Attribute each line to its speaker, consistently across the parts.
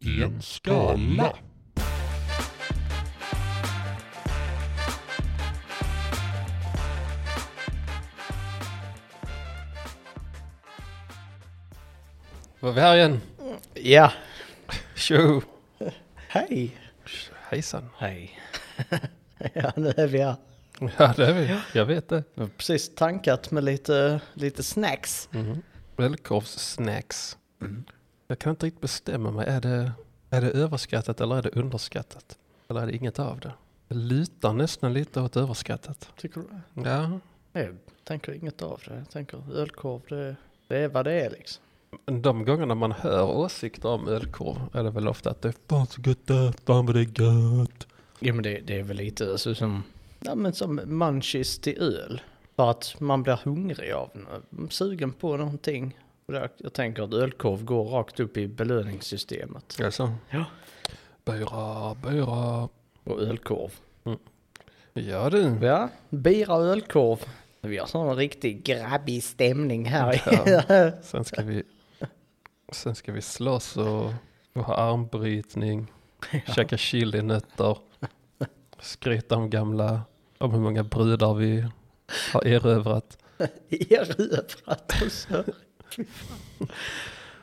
Speaker 1: i en skala.
Speaker 2: Var vi här igen?
Speaker 3: Ja,
Speaker 2: Tjo!
Speaker 3: hej.
Speaker 2: Hejsan!
Speaker 3: Hej. ja, nu är vi här.
Speaker 2: Ja det är vi, jag vet det.
Speaker 3: Jag har precis tankat med lite, lite snacks.
Speaker 2: Mm. Välkorvssnacks. Jag kan inte riktigt bestämma mig, är det, är det överskattat eller är det underskattat? Eller är det inget av det? Det lutar nästan lite åt överskattat.
Speaker 3: Tycker du?
Speaker 2: Ja,
Speaker 3: Nej, jag tänker inget av det. Jag tänker ölkorv, det, det är vad det är liksom.
Speaker 2: men de gångerna man hör åsikter om ölkorv är det väl ofta att det är fan så gött det är, fan vad det är gött.
Speaker 3: Jo men det, det är väl lite så som, ja men som munchies till öl. För att man blir hungrig av, nå- sugen på någonting. Och där- Jag tänker att ölkorv går rakt upp i belöningssystemet.
Speaker 2: Alltså,
Speaker 3: Ja.
Speaker 2: bira, bira.
Speaker 3: Och ölkorv.
Speaker 2: Ja du.
Speaker 3: Ja, bira och ölkorv. Vi har sån riktig grabbig stämning här.
Speaker 2: Ja. Sen ska vi, sen ska vi slåss och, och ha armbrytning, käka chilinötter, skryta om gamla, om hur många brudar vi har erövrat,
Speaker 3: Erövrat och så.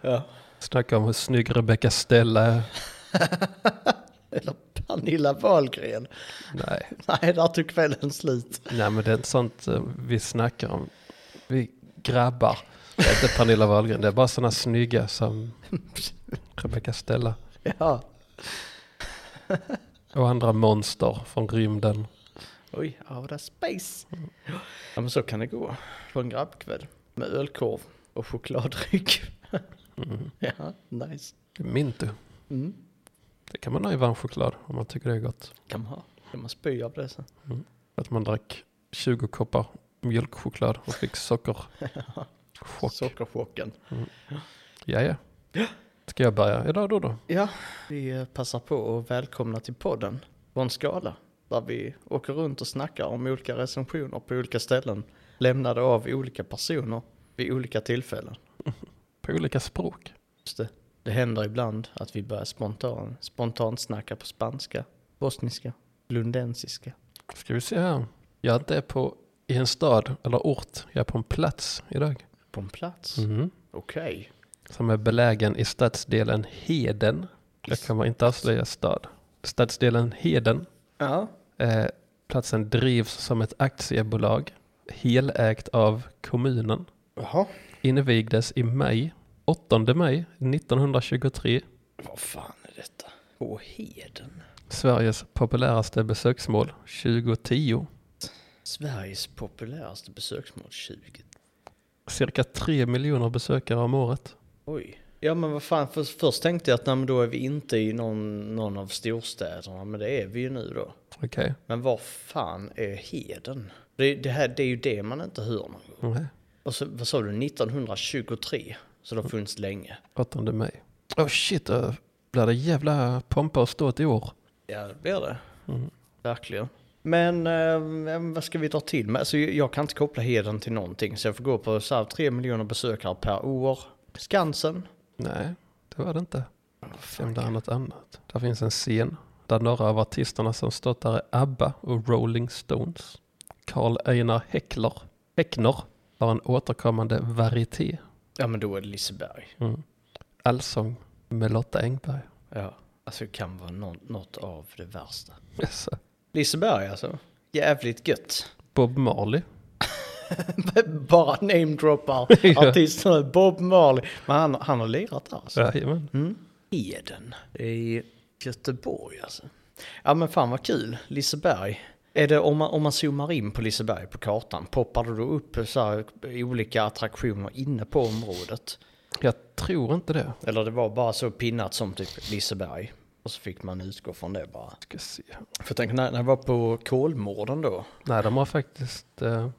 Speaker 3: Ja,
Speaker 2: snacka om hur snygg Rebecca Stella är.
Speaker 3: eller Pernilla Wahlgren.
Speaker 2: Nej,
Speaker 3: Nej, där tog kvällen slut.
Speaker 2: nej men det är inte sånt eh, vi snackar om. Vi grabbar, det är inte Pernilla Wahlgren, det är bara sådana snygga som Rebecca Stella
Speaker 3: Ja,
Speaker 2: och andra monster från rymden.
Speaker 3: oj, out of space. Ja, men så kan det gå på en grabbkväll med ölkorv och chokladdryck. Ja, nice.
Speaker 2: Mm. Mintu.
Speaker 3: Mm.
Speaker 2: Det kan man ha i varm choklad om man tycker det är gott.
Speaker 3: Kan man ha. Kan man spy av det sen?
Speaker 2: Att man drack 20 koppar mjölkchoklad och fick sockerchock.
Speaker 3: Sockerchocken.
Speaker 2: Ja, ja. Ska jag börja idag då då?
Speaker 3: Ja, vi eh, passar på att välkomna till podden på en skala där vi åker runt och snackar om olika recensioner på olika ställen lämnade av olika personer vid olika tillfällen.
Speaker 2: På olika språk.
Speaker 3: Just det, det händer ibland att vi börjar spontan, spontant snacka på spanska, bosniska, lundensiska.
Speaker 2: Ska vi se här. Jag är inte på i en stad eller ort. Jag är på en plats idag.
Speaker 3: På en plats?
Speaker 2: Mhm.
Speaker 3: Okej.
Speaker 2: Som är belägen i stadsdelen Heden. Jag kommer inte avslöja stad. Stadsdelen Heden.
Speaker 3: Ja.
Speaker 2: Eh, platsen drivs som ett aktiebolag. Helägt av kommunen.
Speaker 3: Jaha.
Speaker 2: invigdes i maj, 8 maj 1923,
Speaker 3: Vad fan är detta? På Heden.
Speaker 2: Sveriges populäraste besöksmål 2010.
Speaker 3: Sveriges populäraste besöksmål 20.
Speaker 2: Cirka 3 miljoner besökare om året.
Speaker 3: Oj. Ja men vad fan, för, först tänkte jag att nej, men då är vi inte i någon, någon av storstäderna, men det är vi ju nu då.
Speaker 2: Okej,
Speaker 3: Men vad fan är Heden? Det, det, här, det är ju det man inte hör någon gång.
Speaker 2: nej.
Speaker 3: Och så, vad sa du, 1923? Så det har funnits länge.
Speaker 2: 8 maj. Oh shit, då blir det jävla pompa och ståt i år.
Speaker 3: Ja, det blir det. Verkligen. Men eh, vad ska vi dra till med? Alltså, jag kan inte koppla Heden till någonting, så jag får gå på så här, 3 miljoner besökare per år. Skansen?
Speaker 2: Nej, det var det inte. Sen där är något annat. Där finns en scen där några av artisterna som stått där är ABBA och Rolling Stones. Carl Einar Häckler, Häckner var en återkommande varieté
Speaker 3: Ja, men då är det Liseberg.
Speaker 2: Allsång med Lotta Engberg.
Speaker 3: Ja, alltså det kan vara nå- något av det värsta.
Speaker 2: Jaså.
Speaker 3: Liseberg alltså? Jävligt gött.
Speaker 2: Bob Marley.
Speaker 3: Bara namedroppar artisterna. Bob Marley. Men han, han har lirat där alltså.
Speaker 2: Jajamän.
Speaker 3: Mm. Eden. I Göteborg alltså. Ja men fan vad kul. Liseberg. Är det om man, om man zoomar in på Liseberg på kartan, poppar det då upp så här, olika attraktioner inne på området?
Speaker 2: Jag tror inte det.
Speaker 3: Eller det var bara så pinnat som typ Liseberg? Och så fick man utgå från det bara.
Speaker 2: Ska se.
Speaker 3: För tänk när, när jag var på Kolmården då,
Speaker 2: Nej, de har faktiskt eh,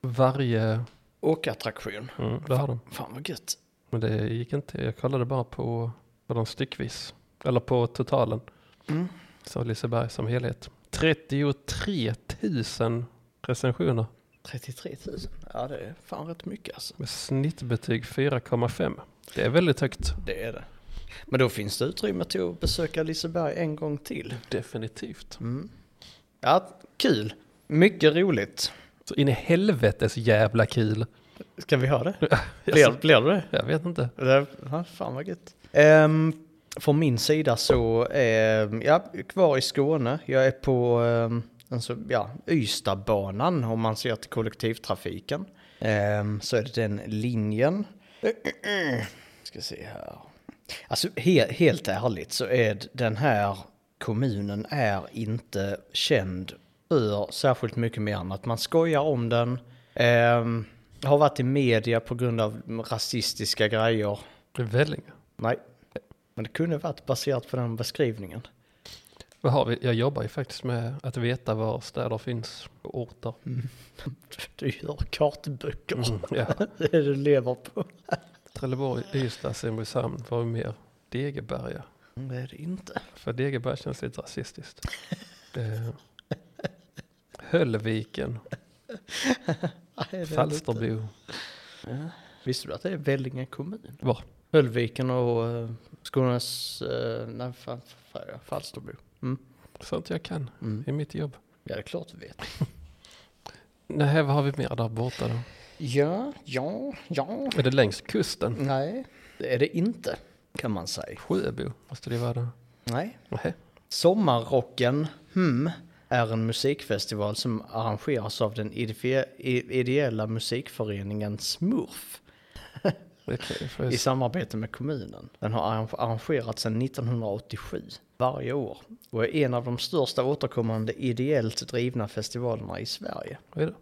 Speaker 2: varje...
Speaker 3: åkattraktion.
Speaker 2: Mm, det har de.
Speaker 3: Fan vad gött.
Speaker 2: Men det gick inte. Jag kollade bara på, på dem styckvis. Eller på totalen.
Speaker 3: Mm.
Speaker 2: Så Liseberg som helhet. 33 000 recensioner
Speaker 3: 33 000, ja det är fan rätt mycket alltså.
Speaker 2: med snittbetyg 4,5. Det är väldigt högt.
Speaker 3: Det är det. Men då finns det utrymme till att besöka Liseberg en gång till.
Speaker 2: Definitivt.
Speaker 3: Mm. Ja, kul. Mycket roligt.
Speaker 2: Så in i helvetes jävla kul.
Speaker 3: Ska vi ha det? Blir,
Speaker 2: Jag,
Speaker 3: blir det
Speaker 2: jag vet inte.
Speaker 3: det? Ja, fan vad gött. Ehm, från min sida så är jag kvar i Skåne. Jag är på um, alltså, ja, Ystadbanan om man ser till kollektivtrafiken. Ehm, så är det den linjen. Ska se här. Alltså he- helt ärligt så är den här kommunen är inte känd för särskilt mycket mer än att man skojar om den. Ehm, har varit i media på grund av rasistiska grejer.
Speaker 2: Vellinge.
Speaker 3: Nej, men det kunde varit baserat på den beskrivningen.
Speaker 2: Vad har vi? Jag jobbar ju faktiskt med att veta var städer finns och orter.
Speaker 3: Du gör kartböcker.
Speaker 2: Mm, ja.
Speaker 3: Det är det du lever på.
Speaker 2: Trelleborg, Ystad, Simrishamn, vad har vi mer? Degeberga.
Speaker 3: Mm, Det är det inte.
Speaker 2: För Degeberga känns lite rasistiskt. Eh, Höllviken,
Speaker 3: Nej, det är det inte.
Speaker 2: Falsterbo.
Speaker 3: Visste du att det är Vellinge kommun?
Speaker 2: Var?
Speaker 3: Höllviken och eh, Skånes... eh, Nej, fan, fan, Falsterbo.
Speaker 2: Sånt jag kan
Speaker 3: Mm.
Speaker 2: i mitt jobb.
Speaker 3: Ja, det är klart du vet.
Speaker 2: Nej, vad har vi mer där borta då?
Speaker 3: Ja, ja, ja.
Speaker 2: Är det längs kusten?
Speaker 3: Nej, det är det inte, kan man säga.
Speaker 2: Sjöbo måste det vara där.
Speaker 3: Nej.
Speaker 2: Nej.
Speaker 3: Sommarrocken, hmm, är en musikfestival som arrangeras av den idfe- i- ideella musikföreningen Smurf
Speaker 2: Okej, får jag
Speaker 3: i
Speaker 2: s-
Speaker 3: samarbete med kommunen. Den har arrange- arrangerats sedan 1987, varje år, och är en av de största återkommande ideellt drivna festivalerna i Sverige.
Speaker 2: vad är det?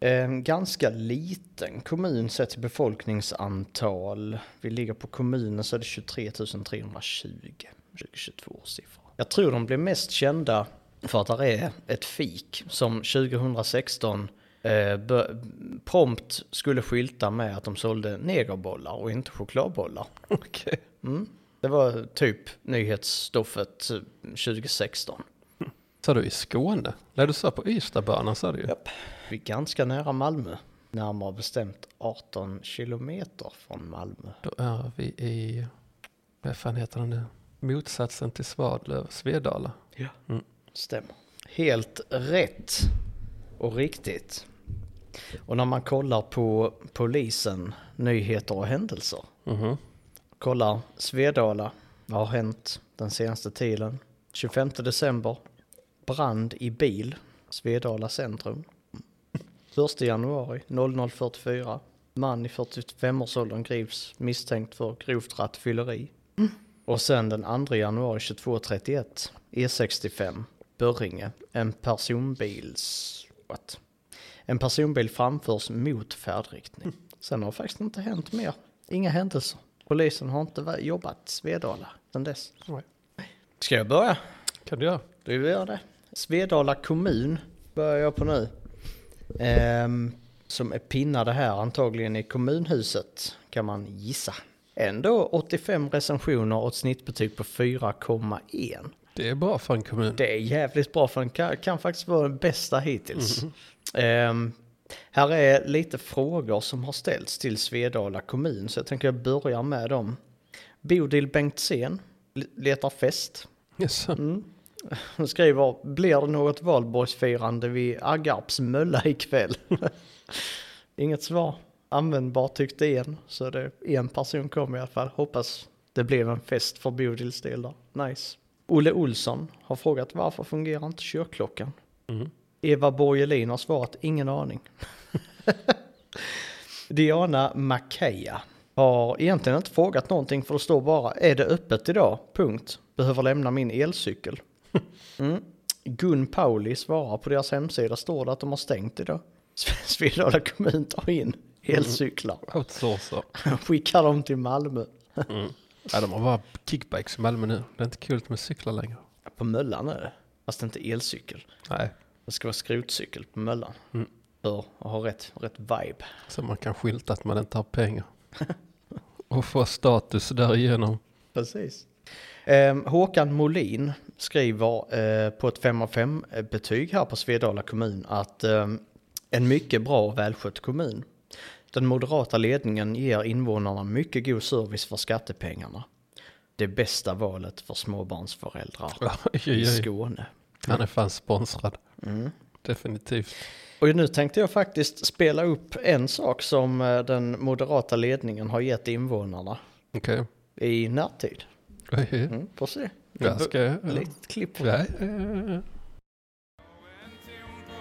Speaker 3: En ganska liten kommun sett till befolkningsantal. Vi ligger på kommunen så är det 23 320. 2022 års siffror. Jag tror de blev mest kända för att det är ett fik som 2016 eh, bö- prompt skulle skylta med att de sålde negerbollar och inte chokladbollar.
Speaker 2: Okej.
Speaker 3: Mm. Det var typ nyhetsstoffet eh, 2016.
Speaker 2: Sa du i Skåne? Nej, du sa på Ystadbanan sa du ju.
Speaker 3: Japp. Vi är ganska nära Malmö. Närmare bestämt 18 kilometer från Malmö.
Speaker 2: Då är vi i, vad fan heter den nu? Motsatsen till Svadlöv, Svedala.
Speaker 3: Ja.
Speaker 2: Mm.
Speaker 3: Stämmer. Helt rätt och riktigt. Och när man kollar på polisen, nyheter och händelser.
Speaker 2: Mhm.
Speaker 3: Kollar Svedala, vad har hänt den senaste tiden? 25 december, brand i bil, Svedala centrum. 1 januari 00.44, man i 45-årsåldern grips misstänkt för grovt rattfylleri. Och sen den 2 januari 22.31, E65, Börringe, en personbils... What? En personbil framförs mot färdriktning. Sen har faktiskt inte hänt mer. Inga händelser. Polisen har inte va- jobbat Svedala sedan dess.
Speaker 2: Nej.
Speaker 3: Ska jag börja?
Speaker 2: Kan du göra?
Speaker 3: Du gör det. Svedala kommun börjar jag på nu. Ehm, som är pinnade här antagligen i kommunhuset kan man gissa. Ändå 85 recensioner och ett snittbetyg på 4,1.
Speaker 2: Det är bra för en kommun.
Speaker 3: Det är jävligt bra för den kan, kan faktiskt vara den bästa hittills. Ehm, här är lite frågor som har ställts till Svedala kommun så jag tänker jag börjar med dem. Bodil Bengtzén le- letar fest.
Speaker 2: Yes.
Speaker 3: Mm. Hon skriver, blir det något valborgsfirande vid Aggarps mölla ikväll? Inget svar. Användbart tyckte en, så det en person kom i alla fall. Hoppas det blev en fest för Bodils del där. Nice. Olle Olsson har frågat varför fungerar inte körklockan?
Speaker 2: Mm.
Speaker 3: Eva Borgelin har svarat ingen aning. Diana Makeja har egentligen inte frågat någonting för det står bara är det öppet idag? Punkt. Behöver lämna min elcykel. Mm. Gun Pauli svarar på deras hemsida står det att de har stängt idag. Svedala kommun tar in elcyklar.
Speaker 2: Outsourcar.
Speaker 3: Skickar dem till Malmö.
Speaker 2: Ja, de har bara kickbikes i Malmö nu. Det är inte kul med cyklar längre.
Speaker 3: På Möllan är det. Fast inte elcykel.
Speaker 2: Nej,
Speaker 3: Det ska vara skrotcykel på Möllan.
Speaker 2: Mm.
Speaker 3: För att ha rätt, rätt vibe.
Speaker 2: så man kan skylta att man inte har pengar. Och få status därigenom.
Speaker 3: Precis. Ehm, Håkan Molin skriver eh, på ett 5 av 5 betyg här på Svedala kommun att ehm, en mycket bra och välskött kommun. Den moderata ledningen ger invånarna mycket god service för skattepengarna. det bästa valet för småbarnsföräldrar
Speaker 2: Oj,
Speaker 3: i
Speaker 2: oj, oj.
Speaker 3: Skåne.
Speaker 2: Han är fan sponsrad.
Speaker 3: Mm.
Speaker 2: Definitivt.
Speaker 3: Och nu tänkte jag faktiskt spela upp en sak som eh, den moderata ledningen har gett invånarna
Speaker 2: Okej.
Speaker 3: i närtid.
Speaker 2: Okay.
Speaker 3: Mm, får se.
Speaker 2: Jag ska...
Speaker 3: Litet klipp.
Speaker 2: Ja, ja, ja, ja.
Speaker 1: En ton på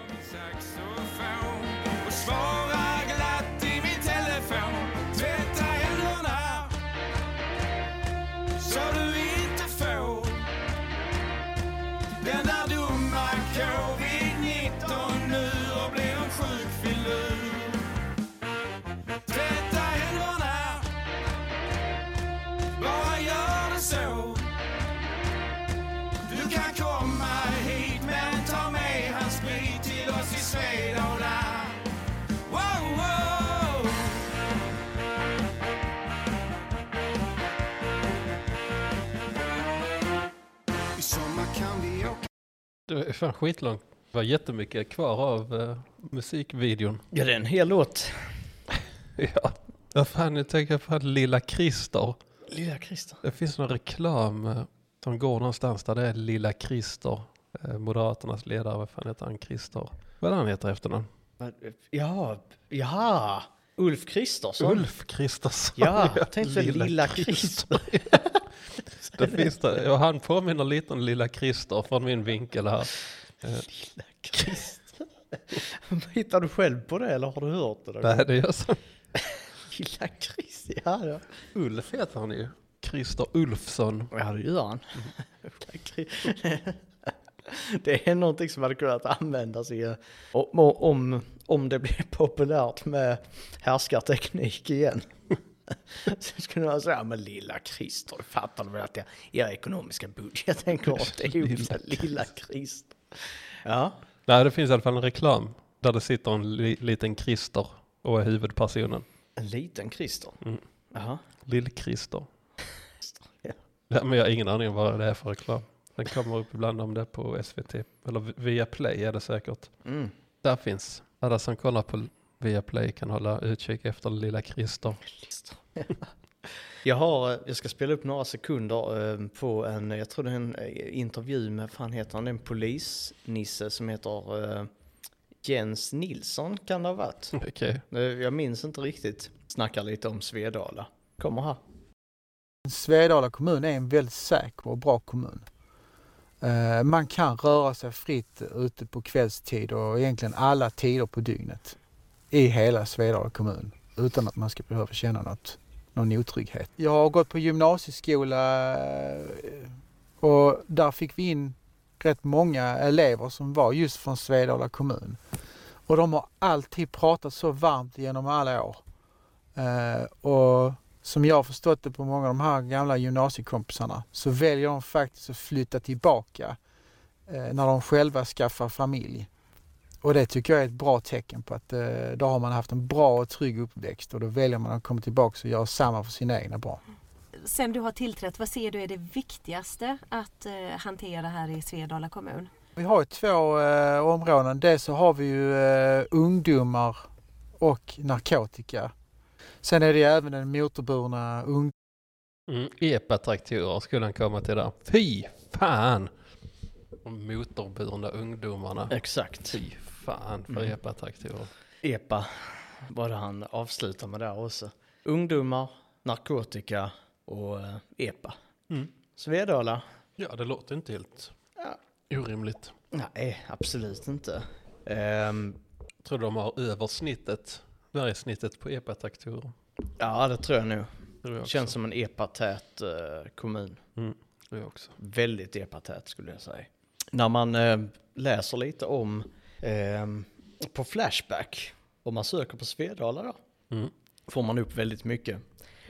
Speaker 1: min saxofon och svarar glatt i min telefon. Tvätta händerna så du inte får den där dumma covid-19 nu och blir en sjuk filur. Tvätta händerna, bara gör det så. Du kan komma hit men ta med hans sprit till oss i Svedala. Wow, wow. I sommar kan vi åka
Speaker 2: Det är fan skitlångt. Det var jättemycket kvar av eh, musikvideon.
Speaker 3: Ja, det är en hel låt.
Speaker 2: Ja. Vad fan, nu tänker jag på Lilla Christer.
Speaker 3: Lilla Christer.
Speaker 2: Det finns någon reklam eh, som går någonstans där det är Lilla Christer. Eh, Moderaternas ledare, vad fan heter han? Christer? Vad är det han heter efter namn?
Speaker 3: Vad- Ja, ja. Ulf Kristersson.
Speaker 2: Ulf Kristersson.
Speaker 3: Ja, tänk så Lilla
Speaker 2: det finns det. Och han påminner lite om Lilla Christer från min vinkel här.
Speaker 3: Lilla Christer. Hittar du själv på det eller har du hört det? Då?
Speaker 2: Nej, det gör så.
Speaker 3: Lilla Christer, ja, ja.
Speaker 2: Ulf heter han ju. Christer Ulfsson.
Speaker 3: Ja, det gör han. Det är någonting som hade kunnat användas i, eh, om, om, om det blir populärt med härskarteknik igen. Så skulle man säga, "Ja, men lilla Christer, fattar du väl att jag, era ekonomiska budget tänker åt det ihop lilla,
Speaker 2: Lilla
Speaker 3: lilla Christer. Ja,
Speaker 2: Nej, det finns i alla fall en reklam där det sitter en li- liten Christer och är huvudpersonen.
Speaker 3: en liten Christer. Jaha.
Speaker 2: Lill-Christer.
Speaker 3: Mm. Ja.
Speaker 2: Ja, men jag har ingen aning om vad det är för reklam. Den kommer upp ibland om det på SVT. Eller via Play är det säkert.
Speaker 3: Mm.
Speaker 2: Där finns. Alla som kollar på via Play kan hålla utkik efter lilla Christer.
Speaker 3: Jag, har, eh, jag ska spela upp några sekunder eh, på en, jag tror det är en eh, intervju med, fan heter han, det är en polisnisse som heter eh, Jens Nilsson kan det ha varit.
Speaker 2: Okej.
Speaker 3: Eh, Jag minns inte riktigt. Snackar lite om Svedala. Kommer här.
Speaker 4: Svedala kommun är en väldigt säker och bra kommun. Eh, Man kan röra sig fritt ute på kvällstid och egentligen alla tider på dygnet i hela Svedala kommun utan att man ska behöva känna något, någon otrygghet. Jag har gått på gymnasieskola eh, och där fick vi in rätt många elever som var just från Svedala kommun. Och de har alltid pratat så varmt genom alla år. Eh, Och som jag har förstått det på många av de här gamla gymnasiekompisarna så väljer de faktiskt att flytta tillbaka eh, när de själva skaffar familj. Och det tycker jag är ett bra tecken på att eh, då har man haft en bra och trygg uppväxt och då väljer man att komma tillbaka och göra samma för sina egna barn.
Speaker 5: Sen du har tillträtt, vad ser du är det viktigaste att eh, hantera här i Svedala kommun?
Speaker 4: Vi har ju två eh, områden. Dels så har vi ju eh, ungdomar och narkotika. Sen är det ju även den motorburna ung-
Speaker 2: Mm, Epatraktorer skulle han komma till där. Fy fan! De motorburna ungdomarna.
Speaker 3: Exakt.
Speaker 2: Fy fan för
Speaker 3: Mm.
Speaker 2: epatraktorer.
Speaker 3: Epa var det han avslutade med där också. Ungdomar, narkotika och eh, epa.
Speaker 2: Mm.
Speaker 3: Svedala?
Speaker 2: Ja, det låter inte helt
Speaker 3: Ja.
Speaker 2: orimligt.
Speaker 3: Nej, absolut inte. Ehm,
Speaker 2: Tror de har översnittet. Där är snittet på epatraktorer.
Speaker 3: ja, det tror jag nog.
Speaker 2: Tror jag också.
Speaker 3: Känns som en epatät eh, kommun.
Speaker 2: Tror jag också.
Speaker 3: Väldigt epatät skulle jag säga. När man eh, läser lite om eh, på Flashback, om man söker på Svedala då,
Speaker 2: Mm.
Speaker 3: får man upp väldigt mycket.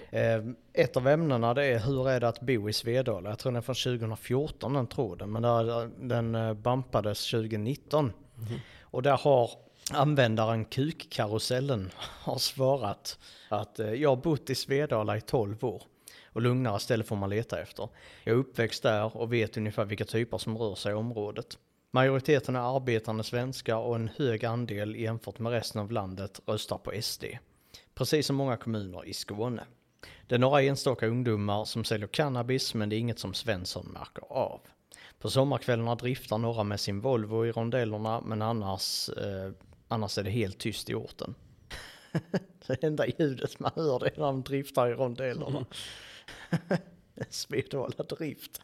Speaker 3: Eh, ett av ämnena det är hur är det att bo i Svedala? Jag tror den är från 2014 den tråden, men där, den eh, bampades 2019.
Speaker 2: Mm-hmm.
Speaker 3: Och där har användaren Kukkarusellen har svarat att eh, jag har bott i Svedala i 12 år och lugnare ställe får man leta efter. Jag är uppväxt där och vet ungefär vilka typer som rör sig i området. Majoriteten är arbetande svenskar och en hög andel jämfört med resten av landet röstar på SD. Precis som många kommuner i Skåne. Det är några enstaka ungdomar som säljer cannabis men det är inget som Svensson märker av. På sommarkvällarna driftar några med sin Volvo i rondellerna men annars, eh, annars är det helt tyst i orten. det enda ljudet man hör det är när de driftar i rondellerna. Svedala drift.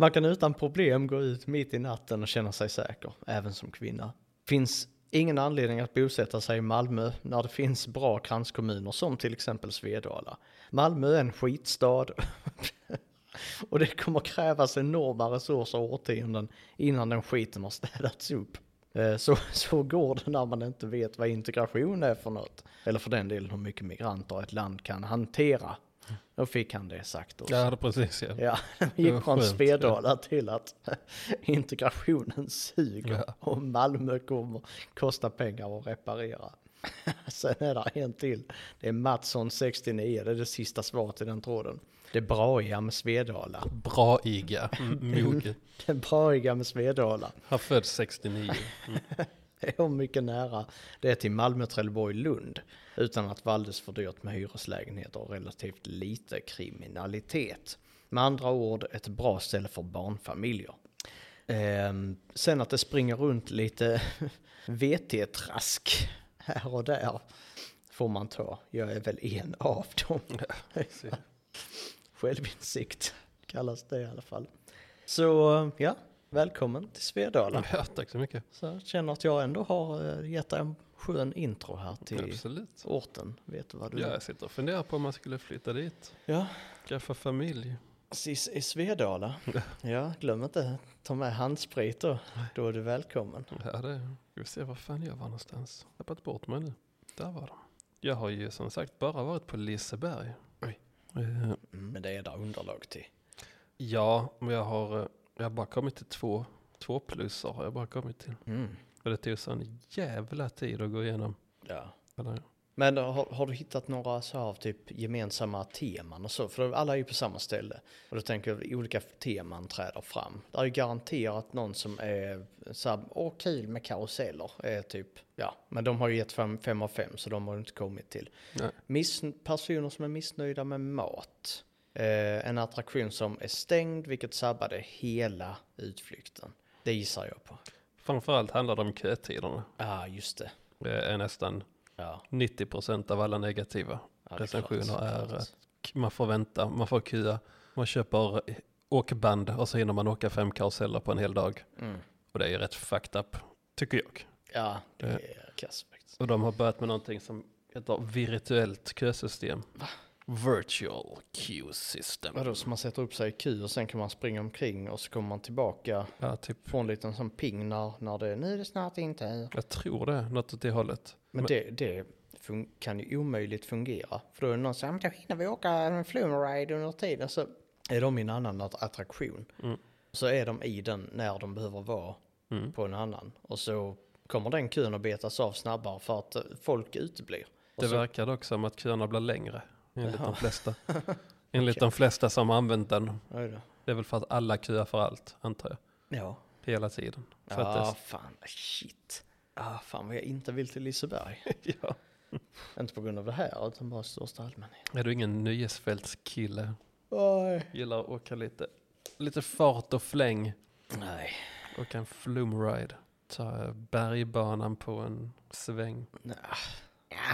Speaker 3: Man kan utan problem gå ut mitt i natten och känna sig säker, även som kvinna. Finns ingen anledning att bosätta sig i Malmö när det finns bra kranskommuner som till exempel Svedala. Malmö är en skitstad och det kommer krävas enorma resurser och årtionden innan den skiten har städats upp. Eh, Så, så går det när man inte vet vad integration är för något. Eller för den delen hur mycket migranter ett land kan hantera. Då fick han det sagt också.
Speaker 2: Jag hade precis ja.
Speaker 3: Ja, vi
Speaker 2: var
Speaker 3: gick från
Speaker 2: skönt.
Speaker 3: Svedala till att integrationen suger
Speaker 2: Ja.
Speaker 3: och Malmö kommer kosta pengar att reparera. Sen är det en till. Det är Mattsson 69, det är det sista svaret i den tråden. Det braiga med Svedala.
Speaker 2: Bra Iga, mm, mogen.
Speaker 3: Det braiga med Svedala.
Speaker 2: Han föddes 69.
Speaker 3: Det är mycket nära det är till Malmö, Trelleborg, Lund. Utan att vara alldeles för dyrt med hyreslägenheter och relativt lite kriminalitet. Med andra ord ett bra ställe för barnfamiljer. Ehm, sen att det springer runt lite VT-trask här och där får man ta. Jag är väl en av dem. Självinsikt kallas det i alla fall. Så ja, välkommen till Svedala.
Speaker 2: Ja, tack så mycket.
Speaker 3: Så jag känner att jag ändå har eh, gett en skön intro här till
Speaker 2: Absolut.
Speaker 3: orten. Vet du vad du
Speaker 2: Ja, jag sitter och funderar på om man skulle flytta dit.
Speaker 3: ja.
Speaker 2: Skaffa familj.
Speaker 3: Precis, i Svedala. Ja, glöm inte ta med handsprit då. Då är du välkommen.
Speaker 2: Ja, det ska vi se var fan jag var någonstans. Tappat bort mig nu. Där var de. Jag har ju som sagt bara varit på Liseberg.
Speaker 3: Oj.
Speaker 2: Eh,
Speaker 3: Men det är där underlag till.
Speaker 2: Ja, men jag har, eh, jag har bara kommit till två, två plusar har jag bara kommit till.
Speaker 3: Mm.
Speaker 2: Och det tog sån jävla tid att gå igenom.
Speaker 3: Ja.
Speaker 2: Eller,
Speaker 3: Men har, har du hittat några så här typ gemensamma teman och så? För alla är ju på samma ställe. Och då tänker jag olika teman träder fram. Det är ju garanterat någon som är så här, åh kul med karuseller. Är typ, ja, men de har ju gett fem, fem av fem så de har du inte kommit till.
Speaker 2: nej.
Speaker 3: Miss, personer som är missnöjda med mat. Eh, en attraktion som är stängd vilket sabbade hela utflykten. Det gissar jag på.
Speaker 2: Framförallt handlar det om kötiderna.
Speaker 3: Ja, ah, just det.
Speaker 2: Det är nästan
Speaker 3: Ja,
Speaker 2: 90% av alla negativa
Speaker 3: ja, det är
Speaker 2: recensioner
Speaker 3: klart,
Speaker 2: är
Speaker 3: klart.
Speaker 2: att man får vänta, man får kua, man köper åkband och så hinner man åka fem karuseller på en hel dag.
Speaker 3: Mm.
Speaker 2: Och det är ju rätt fucked up, tycker jag.
Speaker 3: Ja, det
Speaker 2: Eh.
Speaker 3: är kass faktiskt.
Speaker 2: Och de har börjat med någonting som heter virtuellt kösystem. Virtual queue system.
Speaker 3: Vadå, så man sätter upp sig i kö och sen kan man springa omkring och så kommer man tillbaka
Speaker 2: Ja, typ,
Speaker 3: få en liten sån ping när, när det är nu är det snart inte här.
Speaker 2: jag tror det, något åt det hållet.
Speaker 3: Men det, det fun- kan ju omöjligt fungera. För då är det någon som säger, då hinner vi åka en flumride under tiden. Så är de i en annan att- attraktion.
Speaker 2: Mm.
Speaker 3: Så är de i den när de behöver vara
Speaker 2: Mm.
Speaker 3: på en annan. Och så kommer den kön att betas av snabbare för att eh, folk uteblir. Och
Speaker 2: Det
Speaker 3: så,
Speaker 2: verkar dock som att köerna blir längre, enligt
Speaker 3: Alltså- Jaha.
Speaker 2: de flesta. Enligt de flesta som har använt den.
Speaker 3: Oj då.
Speaker 2: Det är väl för att alla köar för allt, antar jag.
Speaker 3: Ja.
Speaker 2: Hela tiden. För att det är
Speaker 3: Ja,
Speaker 2: så-
Speaker 3: fan, shit. Ah, fan vad jag inte vill till Liseberg.
Speaker 2: ja.
Speaker 3: Inte på grund av det här, utan bara i största allmänhet.
Speaker 2: Är du ingen nöjesfältskille?
Speaker 3: Oj.
Speaker 2: Gillar att åka lite, lite fart och fläng.
Speaker 3: Nej,
Speaker 2: Åka en flumride. Ta eh, bergbanan på en sväng.
Speaker 3: Nja.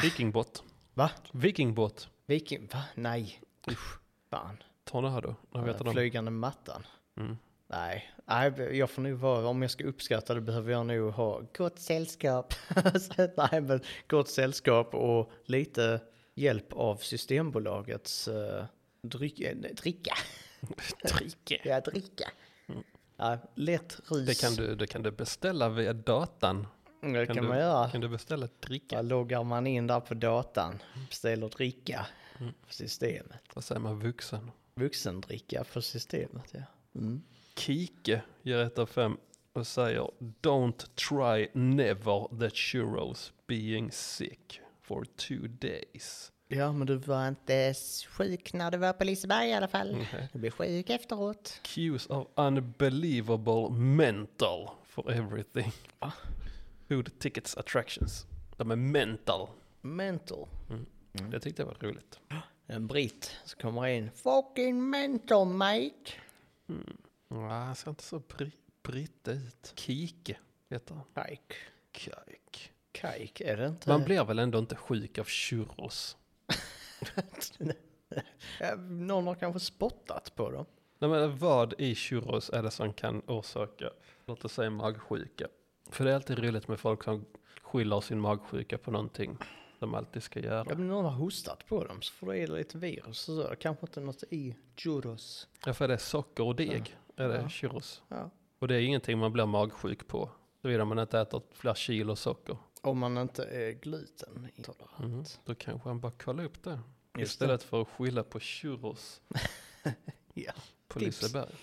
Speaker 2: Vikingbåt.
Speaker 3: Va?
Speaker 2: Vikingbåt.
Speaker 3: Viking, va? Nej. Usch, fan. Eh,
Speaker 2: Tornado. Jag vet inte om.
Speaker 3: Flygande mattan.
Speaker 2: Mm.
Speaker 3: Nej, nej, jag får nog vara, om jag ska uppskatta det behöver jag nog ha gott sällskap. Så, nej, men gott sällskap och lite hjälp av Systembolagets uh, dryck, eh, nej, dricka.
Speaker 2: Trike.
Speaker 3: Ja, dricka. Ja, lätt ris.
Speaker 2: Mm. Det kan, du, det kan du beställa via datan.
Speaker 3: Mm, det kan
Speaker 2: du,
Speaker 3: man göra.
Speaker 2: Kan du beställa dricka?
Speaker 3: Där loggar man in där på datan, beställer dricka
Speaker 2: Mm.
Speaker 3: på systemet.
Speaker 2: Vad säger man vuxen?
Speaker 3: Vuxendricka på systemet, ja. Mm.
Speaker 2: Kike ger 1 av 5 och säger Don't try never the churros being sick for two days.
Speaker 3: Ja, men du var inte sjuk när du var på Liseberg i alla fall.
Speaker 2: Mm.
Speaker 3: Du blev sjuk efteråt.
Speaker 2: Cues of unbelievable mental for everything. Food tickets attractions. De är mental.
Speaker 3: Mental.
Speaker 2: Det tyckte jag var roligt.
Speaker 3: En britt som kommer in. Fucking mentor mate.
Speaker 2: Nej, han ser inte så bri- britt ut. Kike heter han.
Speaker 3: Kajk.
Speaker 2: Kajk.
Speaker 3: Kajk är det inte?
Speaker 2: Man blir väl ändå inte sjuk av churros?
Speaker 3: Eh, Någon har kanske spottat på dem.
Speaker 2: Nej, men vad i churros är det som kan orsaka, låt oss säga magsjuka? För det är alltid roligt med folk som skyller sin magsjuka på någonting de alltid ska
Speaker 3: Ja,
Speaker 2: göra.
Speaker 3: men någon har hostat på dem så får det i lite virus och så. Kanske inte något i churros.
Speaker 2: Ja, för det är socker och deg, är det churros.
Speaker 3: Ja.
Speaker 2: Och det är ingenting man blir magsjuk på, såvida man inte äter flera kilo socker. Mm.
Speaker 3: Om man inte är glutenintolerant.
Speaker 2: Då kanske han bara kollar upp det.
Speaker 3: det.
Speaker 2: Istället för att skylla på churros
Speaker 3: Ja.
Speaker 2: på
Speaker 3: Tips.
Speaker 2: Liseberg.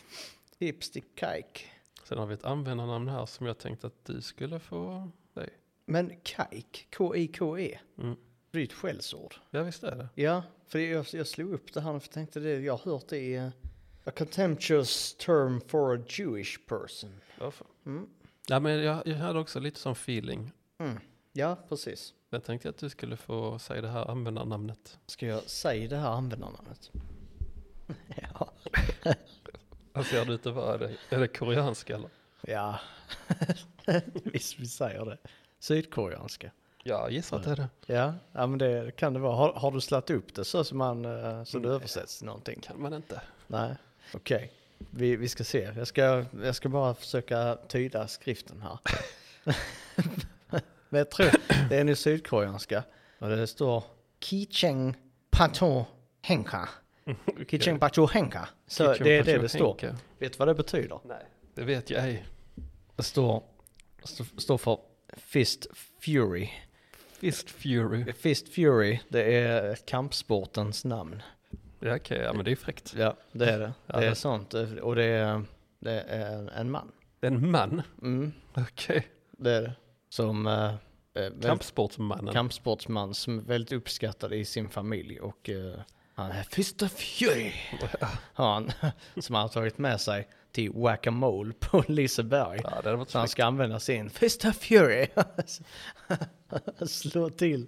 Speaker 3: Tips till Kajk.
Speaker 2: Sen har vi ett användarnamn här som jag tänkte att du skulle få dig.
Speaker 3: Men Kajk, K-I-K-E.
Speaker 2: Mm.
Speaker 3: Det är ju ett E. skällsord.
Speaker 2: Ja, visst är det.
Speaker 3: Ja, för det- jag, jag slog upp det här för jag tänkte det, jag har hört det i eh, A contemptuous term for a Jewish person.
Speaker 2: Varför? Ja, men jag, jag hade också lite sån feeling.
Speaker 3: Mm. Ja, precis.
Speaker 2: Jag tänkte att du skulle få säga det här användarnamnet.
Speaker 3: Ska jag säga det här användarnamnet? ja.
Speaker 2: Vad ser Alltså, du inte vara? Är det, är det koreanska eller?
Speaker 3: Ja, visst vi säger det. Sydkoreanska.
Speaker 2: Ja, jag gissar att det är det.
Speaker 3: Ja, ja men det kan det vara. Har, har du slagit upp det så som man, eh, så det
Speaker 2: Mm.
Speaker 3: översätts till någonting?
Speaker 2: Kan man inte.
Speaker 3: Nej, okej. Vi, vi ska se. Jag ska, jag ska bara försöka tyda skriften här. Men jag tror det är nu sydkoreanska. Och det står Kicheng Pato Henka. Kicheng Pato Henka. Så
Speaker 2: Kitchen
Speaker 3: det är det
Speaker 2: Patrol
Speaker 3: det står.
Speaker 2: Henke.
Speaker 3: Vet du vad det betyder?
Speaker 2: Nej, det vet jag ej.
Speaker 3: Det står, st- står för Fist Fury.
Speaker 2: Fist Fury.
Speaker 3: Fist Fury, det är kampsportens namn.
Speaker 2: Ja, okej, ja men det är fräckt.
Speaker 3: Ja, det är det.
Speaker 2: Ja,
Speaker 3: Det är
Speaker 2: det-
Speaker 3: sånt. Och det är, det är en- en man.
Speaker 2: Det är en man.
Speaker 3: Mm.
Speaker 2: Okej.
Speaker 3: Det är det. Som eh, eh, väldigt-
Speaker 2: Kampsportsmannen.
Speaker 3: kampsportsman som är väldigt uppskattad i sin familj och eh, han är Fist of Fury. Har han, som han har tagit med sig till Whack-A-Mole på Liseberg.
Speaker 2: Ja, det hade varit
Speaker 3: Så han
Speaker 2: fräckt.
Speaker 3: ska använda sin Fist of Fury. Slå till.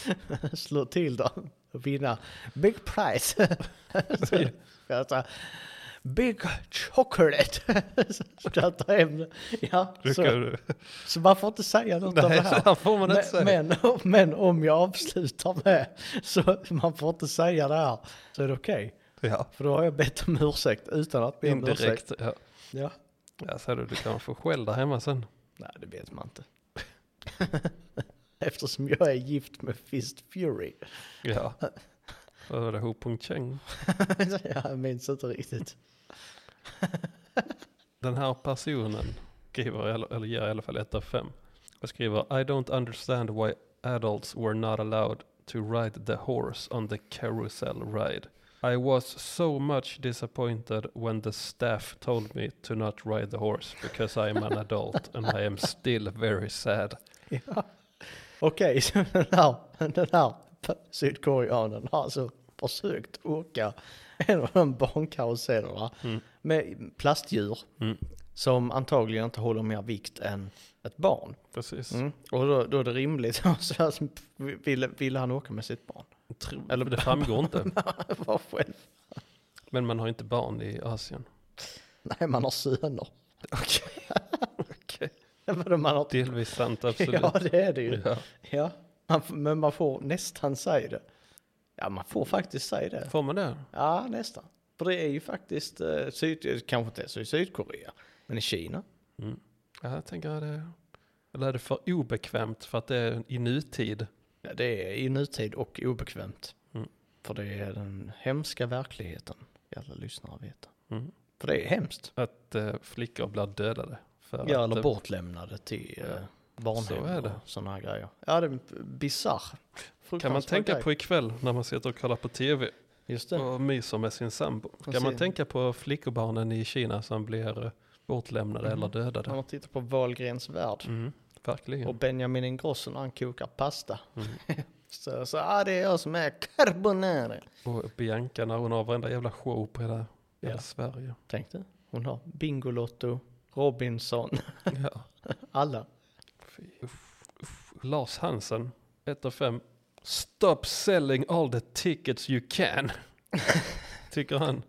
Speaker 3: Slå till dem och vinna Big Prize. Så Skratta. Big Chocolate. Skratta hem det. Ja,
Speaker 2: Du
Speaker 3: så,
Speaker 2: kan-
Speaker 3: så man får inte säga något av det
Speaker 2: Nej,
Speaker 3: här.
Speaker 2: så får man inte säga.
Speaker 3: Men, men, men om jag avslutar med så man får inte säga det här så är det okej.
Speaker 2: Ja,
Speaker 3: För då har jag bett om ursäkt utan att be om ursäkt.
Speaker 2: indirekt. Ja.
Speaker 3: Ja.
Speaker 2: ja, så du, du kan få skäll där hemma sen.
Speaker 3: Nej, det vet man inte. Eftersom jag är gift med Fist Fury.
Speaker 2: Ja. Vad var det? Ho Pung Cheng.
Speaker 3: jag minns inte riktigt.
Speaker 2: Den här personen skriver, i alla- eller ger i alla fall ett av fem. och skriver I don't understand why adults were not allowed to ride the horse on the carousel ride. I was so much disappointed when the staff told me to not ride the horse because I am an adult and I am still very sad.
Speaker 3: Ja. Okej, så den här, den här sydkoreanen har alltså försökt åka en av de barnkarusellerna med plastdjur
Speaker 2: Mm.
Speaker 3: som antagligen inte håller mer vikt än ett barn.
Speaker 2: Precis.
Speaker 3: Mm. Och då, då är det rimligt, så alltså, ville, ville han åka med sitt barn?
Speaker 2: Tro-
Speaker 3: Eller-
Speaker 2: det framgår inte.
Speaker 3: Var själv.
Speaker 2: Men man har inte barn i Asien.
Speaker 3: Nej, man har söner.
Speaker 2: Okej.
Speaker 3: Vadå, man har
Speaker 2: Delvis sant, absolut.
Speaker 3: Ja, det är det ju.
Speaker 2: Ja.
Speaker 3: Ja. Man, f- men man får nästan säga det. Ja, man får faktiskt säga det.
Speaker 2: Får man det?
Speaker 3: Ja, nästan. För det är ju faktiskt, eh, syd, kanske inte så i Sydkorea, men i Kina.
Speaker 2: Ja, jag tänker att det... Eller är det för obekvämt för att det är i nutid?
Speaker 3: Ja, det är i nutid och obekvämt.
Speaker 2: Mm.
Speaker 3: För det är den hemska verkligheten, vi alla lyssnare vet.
Speaker 2: Mm.
Speaker 3: För det är hemskt.
Speaker 2: Att eh, flickor blir dödade. För
Speaker 3: Ja,
Speaker 2: att,
Speaker 3: eller
Speaker 2: eh,
Speaker 3: bortlämnade till eh, barnhem
Speaker 2: Så är det.
Speaker 3: och sådana här grejer. Ja, det är bisarr.
Speaker 2: Kan man
Speaker 3: Fruktansvärd
Speaker 2: tänka
Speaker 3: grej.
Speaker 2: på ikväll när man sitter och kollar på tv
Speaker 3: Just det.
Speaker 2: och myser med sin sambo? Kan man
Speaker 3: Precis.
Speaker 2: tänka på flickobarnen i Kina som blir eh, bortlämnade eller
Speaker 3: När
Speaker 2: dödade?
Speaker 3: man tittar på Wahlgrens värld.
Speaker 2: Mm, verkligen. Mm.
Speaker 3: Och Benjamin Ingrosso när han kokar pasta. så så ah, det är jag som är carbonara.
Speaker 2: Och Bianca när hon har varenda jävla show på hela, hela
Speaker 3: Ja.
Speaker 2: Sverige.
Speaker 3: Tänk dig, hon har Bingolotto, Robinson,
Speaker 2: Ja.
Speaker 3: alla.
Speaker 2: Fy, uff, uff. Lars Hansen, 1 av 5, Stop selling all the tickets you can. tycker han.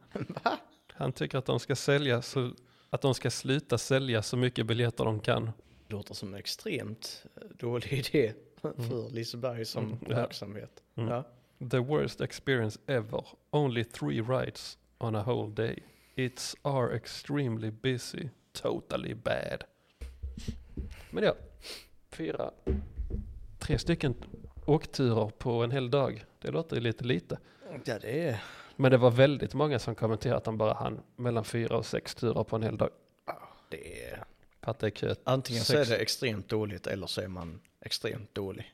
Speaker 2: Han tycker att de ska sälja så att de ska sluta sälja så mycket biljetter de kan.
Speaker 3: Låter som en extremt eh, dålig idé för Liseberg som
Speaker 2: Mm. Ja.
Speaker 3: verksamhet.
Speaker 2: Mm.
Speaker 3: Ja.
Speaker 2: The worst experience ever. Only three rides on a whole day. It's are extremely busy. Totally bad. Men ja, fyra, tre stycken åkturer på en hel dag. Det låter ju lite lite.
Speaker 3: ja, det är...
Speaker 2: Men det var väldigt många som kommenterade att han bara hann mellan fyra och sex turer på en hel dag.
Speaker 3: Det är...
Speaker 2: För att det är kö.
Speaker 3: Antingen så är
Speaker 2: Sex.
Speaker 3: det extremt dåligt eller så är man extremt dålig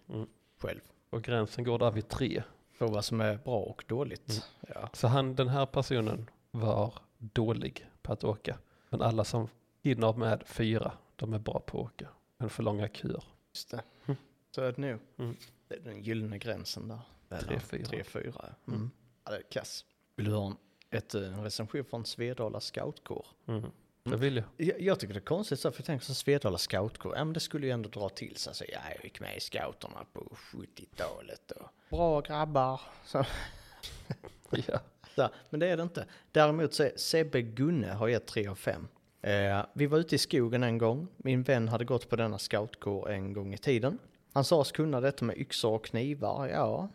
Speaker 3: själv.
Speaker 2: Och gränsen går där vid tre.
Speaker 3: För vad som är bra och dåligt.
Speaker 2: Mm.
Speaker 3: Ja.
Speaker 2: Så han, den här personen var dålig på att åka. Men alla som hinner med fyra, de är bra på att åka. Men för långa köer.
Speaker 3: Just det. Så är det nu.
Speaker 2: Mm.
Speaker 3: Det är den gyllene gränsen där.
Speaker 2: Tre, fyra.
Speaker 3: 3-4. Mm. Ja, det är kass. Vill du ha en, ett, eh, en recension från Svedala scoutkår?
Speaker 2: Det vill jag.
Speaker 3: Jag, jag tycker det är konstigt, så här, för jag tänker så Svedala scoutkår, ja men det skulle ju ändå dra till sig. Så, ja, jag gick med i scouterna på 70-talet och bra grabbar. Så,
Speaker 2: Ja.
Speaker 3: där. Men det är det inte. Däremot så är Sebbe Gunne har gett 3 av 5. Eh, vi var ute i skogen en gång. Min vän hade gått på denna scoutkår en gång i tiden. Han sa oss kunna detta med yxor och knivar. Ja,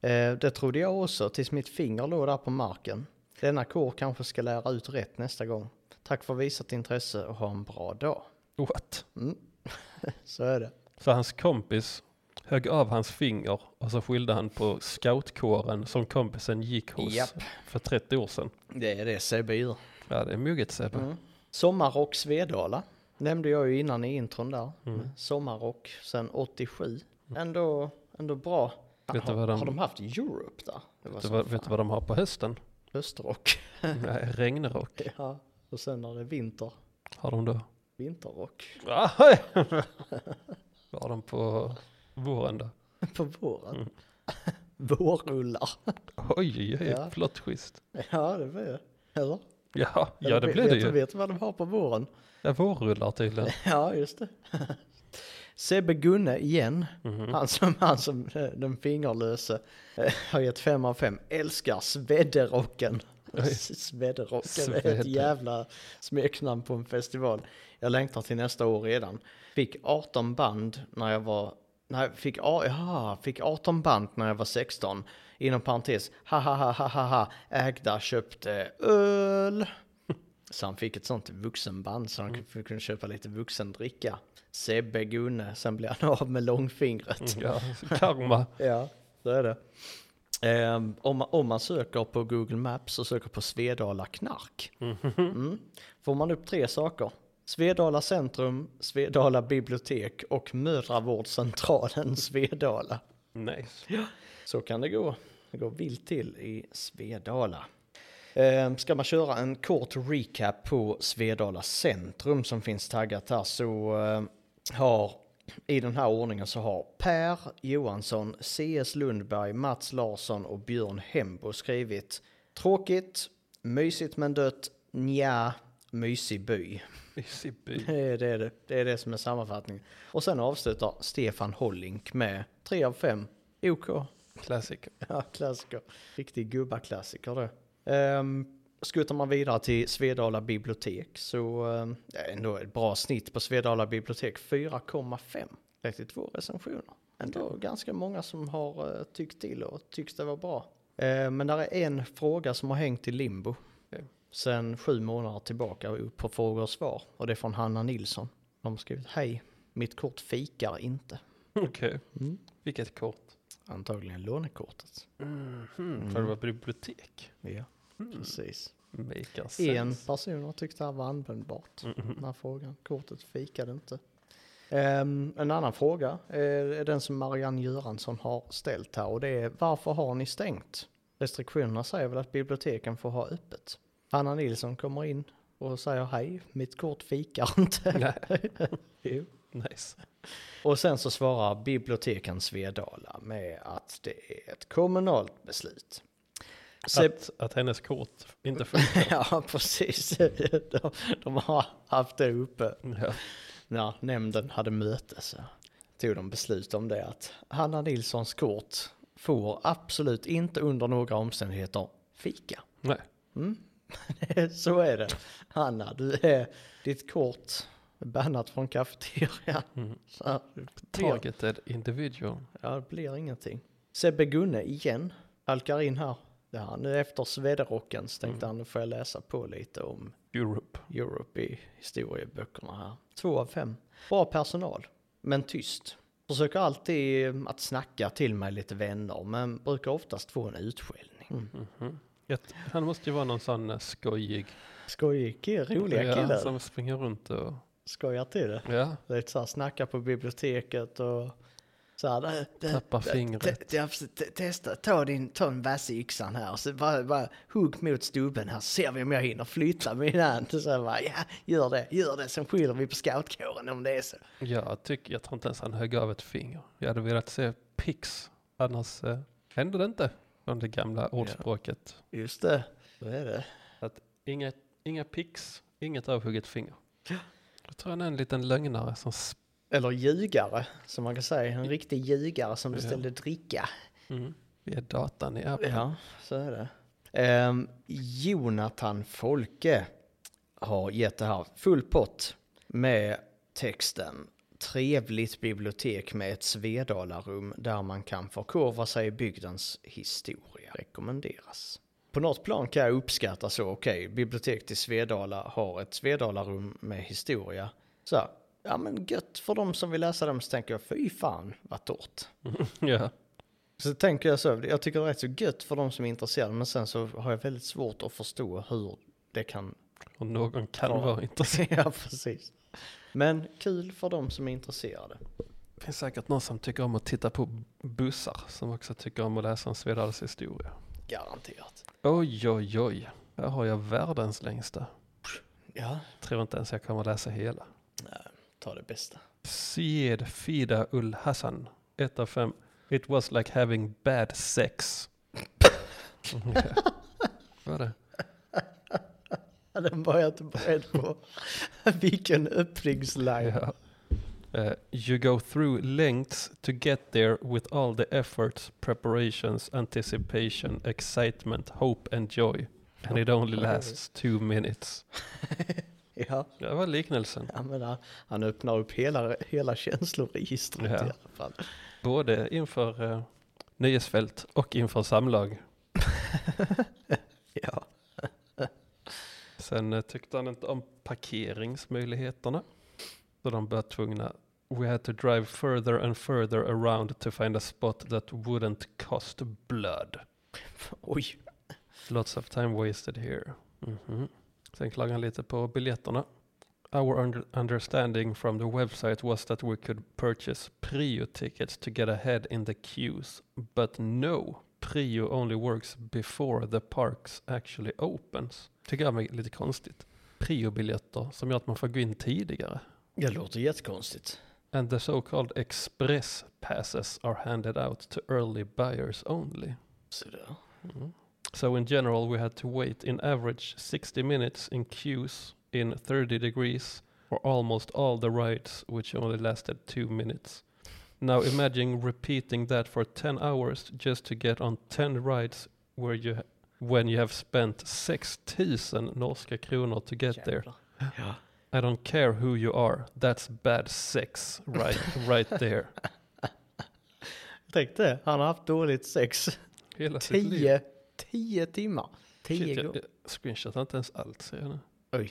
Speaker 3: eh, det trodde jag också tills mitt finger låg där på marken. Denna kår kanske ska lära ut rätt nästa gång. Tack för visat intresse och ha en bra dag.
Speaker 2: What?
Speaker 3: Så är det.
Speaker 2: Så hans kompis högg av hans finger och så skyllde han på scoutkåren som kompisen gick hos
Speaker 3: Japp.
Speaker 2: för 30 år sedan.
Speaker 3: Det är det Sebbe gör.
Speaker 2: Ja, det är mugget Sebbe.
Speaker 3: Mm. Sommarrock Svedala nämnde jag ju innan i intron där.
Speaker 2: Mm.
Speaker 3: Sommarrock sen 87. Ändå, ändå bra.
Speaker 2: Vet du
Speaker 3: har,
Speaker 2: vad de-
Speaker 3: har de haft Europe där? Det var
Speaker 2: Vet du,
Speaker 3: som
Speaker 2: vad, vet du vad de har på hösten?
Speaker 3: höstrock.
Speaker 2: Nej, regnrock
Speaker 3: ja, och sen när det är vinter,
Speaker 2: har de då.
Speaker 3: vinterrock
Speaker 2: Ahoj! Vad har de på våren då?
Speaker 3: på våren.
Speaker 2: Mm.
Speaker 3: Vårrullar.
Speaker 2: Oj, oj,
Speaker 3: Ja.
Speaker 2: oj, flott schysst.
Speaker 3: ja, det blir det. Eller?
Speaker 2: Ja, ja
Speaker 3: Eller
Speaker 2: det
Speaker 3: vet-
Speaker 2: blir det
Speaker 3: vet,
Speaker 2: ju.
Speaker 3: Vet du vad de har på våren?
Speaker 2: Ja, vårrullar tydligen.
Speaker 3: Ja, just det. Sebbe Gunne igen, han som, han som eh, den fingerlöse eh, har gett fem av fem. älskar svedderocken. Svedderocken är ett
Speaker 2: Svedder.
Speaker 3: jävla smeknamn på en festival. Jag längtar till nästa år redan. Fick 18 band när jag var, nej, fick, a- aha, fick 18 band när jag var 16. Inom parentes, ha ha ha ha ha ha, ägda köpte öl. Så han fick ett sånt vuxenband så han kunde- kunde köpa lite vuxendricka. Sebbe Gunne, sen blev han av med långfingret.
Speaker 2: Ja, karma.
Speaker 3: Ja, så är det. Ehm, om, man, om man söker på Google Maps och söker på Svedala knark. Mm, får man upp tre saker. Svedala centrum, Svedala bibliotek och mödravårdscentralen Svedala.
Speaker 2: Nice.
Speaker 3: Så kan det gå. Det går vilt till i Svedala. Ehm, Ska man köra en kort recap på Svedala centrum som finns taggat här så ehm, har i den här ordningen så har Per Johansson, CS Lundberg, Mats Larsson och Björn Hembo skrivit Tråkigt, mysigt men dött, nja, mysig by.
Speaker 2: Mysig by.
Speaker 3: Det är det, det är det som är sammanfattningen. Och sen avslutar Stefan Hollink med 3 av 5. OK.
Speaker 2: Classic.
Speaker 3: Ja, klassiker. Riktig gubbaklassiker det. Um, skuttar man vidare till Svedala bibliotek så ehm, det är ändå ett bra snitt på Svedala bibliotek. 4,5. 32 recensioner. Ändå ganska många som har eh, tyckt till och tycks det vara bra. Eh, men där är en fråga som har hängt i limbo.
Speaker 2: Okej.
Speaker 3: Sen sju månader tillbaka och upp på frågor och svar. Och det är från Hanna Nilsson. De har skrivit hej, mitt kort fikar inte.
Speaker 2: Okej. Vilket kort.
Speaker 3: Antagligen lånekortet.
Speaker 2: För det var bibliotek. Hmm,
Speaker 3: Ja, precis.
Speaker 2: Make sense. Mhm.
Speaker 3: En person har tyckt det här var användbart,
Speaker 2: Mm.
Speaker 3: den här frågan. Kortet fikade inte. Ehm, en annan fråga eh, är den som Marianne Göransson har ställt här och det är varför har ni stängt? Restriktionerna säger väl att biblioteken får ha öppet. Anna Nilsson kommer in och säger hej, mitt kort fikar inte. Jo.
Speaker 2: Nice.
Speaker 3: Och sen så svarar biblioteken Svedala med att det är ett kommunalt beslut. Seb-
Speaker 2: Att, att hennes kort inte funkar.
Speaker 3: Ja, precis. De, de har haft det uppe
Speaker 2: ja.
Speaker 3: när nämnden hade möte. Så. tog de beslut om det att Hanna Nilssons kort får absolut inte under några omständigheter fika.
Speaker 2: Nej.
Speaker 3: Mm. Så är det. Hanna, du är ditt kort är bannat från kafeterian. Så här, det blir-
Speaker 2: Targeted individual.
Speaker 3: Ja, det blir ingenting. Sebbe Gunne igen. Halkar in här. Det här nu efter Svederocken så tänkte han nu får jag läsa på lite om
Speaker 2: Europe.
Speaker 3: Europe i historieböckerna här. Två av fem. Bra personal, men tyst. Försöker alltid eh, att snacka till mig lite vänner, men brukar oftast få en utskällning. Mm.
Speaker 2: Jag- Han måste ju vara någon sån eh, skojig.
Speaker 3: Skojig kille, roliga
Speaker 2: Ja,
Speaker 3: killar.
Speaker 2: Som springer runt och...
Speaker 3: Skojar till det.
Speaker 2: Ja.
Speaker 3: Lite så här snacka på biblioteket och så här. "Det- det-
Speaker 2: Tappar
Speaker 3: det-
Speaker 2: fingret."
Speaker 3: det- det- te- Testa, ta din, ta en vass i yxan här och så bara, bara hugg mot stubben här så ser vi om jag hinner flytta min hand. Så jag bara, ja, gör det, gör det, sen skyller vi på scoutkåren om det är så.
Speaker 2: Jag, tycker, jag tror inte ens han högg av ett finger. Jag hade velat se Pix. Annars eh, händer det inte. Från det gamla ordspråket.
Speaker 3: Just det, så är det.
Speaker 2: Att inga, inga Pix, inget avhugget finger. Jag tror han är en liten lögnare som... sp-
Speaker 3: Eller ljugare, som man kan säga. En riktig ljugare som beställde dricka.
Speaker 2: Mm. Vi är datan i appen.
Speaker 3: Ja, så är det. Ehm, Jonathan Folke har gett det här full pott med texten Trevligt bibliotek med ett Svedalarum där man kan förkovra sig i bygdens historia rekommenderas. På något plan kan jag uppskatta så, okej, biblioteket i Svedala har ett Svedalarum med historia. Så, här, ja men gött för de som vill läsa dem så tänker jag, fy fan vad torrt.
Speaker 2: ja.
Speaker 3: Så tänker jag så, jag tycker det är rätt så gött för de som är intresserade men sen så har jag väldigt svårt att förstå hur det kan...
Speaker 2: Och någon kan
Speaker 3: Ja.
Speaker 2: vara intresserad.
Speaker 3: ja, precis. Men kul för de som är intresserade.
Speaker 2: Det finns säkert någon som tycker om att titta på bussar. Som också tycker om att läsa om Svedals historia.
Speaker 3: Garanterat.
Speaker 2: Oj, oj, oj. Här har jag världens längsta.
Speaker 3: Ja,
Speaker 2: Tror inte ens jag kommer läsa hela.
Speaker 3: ta det bästa.
Speaker 2: Syed Fida Ul Hassan, 1 av 5. It was like having bad sex. Ja. Vad är det?
Speaker 3: Ja, den var jag inte beredd på. Vilken öppningsline.
Speaker 2: Ja. Eh, you go through lengths to get there with all the efforts, preparations, anticipation, excitement, hope and joy. And it only lasts two minutes.
Speaker 3: Ja,
Speaker 2: Det var liknelsen.
Speaker 3: jag menar, han öppnar upp hela, hela känsloregistret
Speaker 2: Ja.
Speaker 3: i alla fall.
Speaker 2: Både inför eh, nyhetsfält och inför samlag.
Speaker 3: Ja.
Speaker 2: Sen eh, tyckte han inte om parkeringsmöjligheterna. Så de blev tvungna. We had to drive further and further around to find a spot that wouldn't cost blood.
Speaker 3: Oj,
Speaker 2: Lots of time wasted here. Mhm. Sen klagade han lite på biljetterna. Our under understanding from the website was that we could purchase prio tickets to get ahead in the queues. But no, prio only works before the parks actually opens. Tycker jag är lite konstigt. Prio-biljetter som gör att man får gå in tidigare.
Speaker 3: det låter jättekonstigt.
Speaker 2: And the so called express passes are handed out to early buyers only.
Speaker 3: Sådär.
Speaker 2: So in general, we had to wait in average 60 minutes in queues in 30 degrees for almost all the rides, which only lasted two minutes. Now imagine repeating that for 10 hours just to get on 10 rides where you ha- when you have spent 6000 norska kronor to get there.
Speaker 3: Jävlar. Ja.
Speaker 2: I don't care who you are. That's bad sex right right there.
Speaker 3: Tänk det, han har haft dåligt sex.
Speaker 2: Hela sitt liv.
Speaker 3: 10, 10 timmar. 10
Speaker 2: Shit, jag,
Speaker 3: gånger.
Speaker 2: jag screenshotar inte ens allt ser jag nu.
Speaker 3: Oj,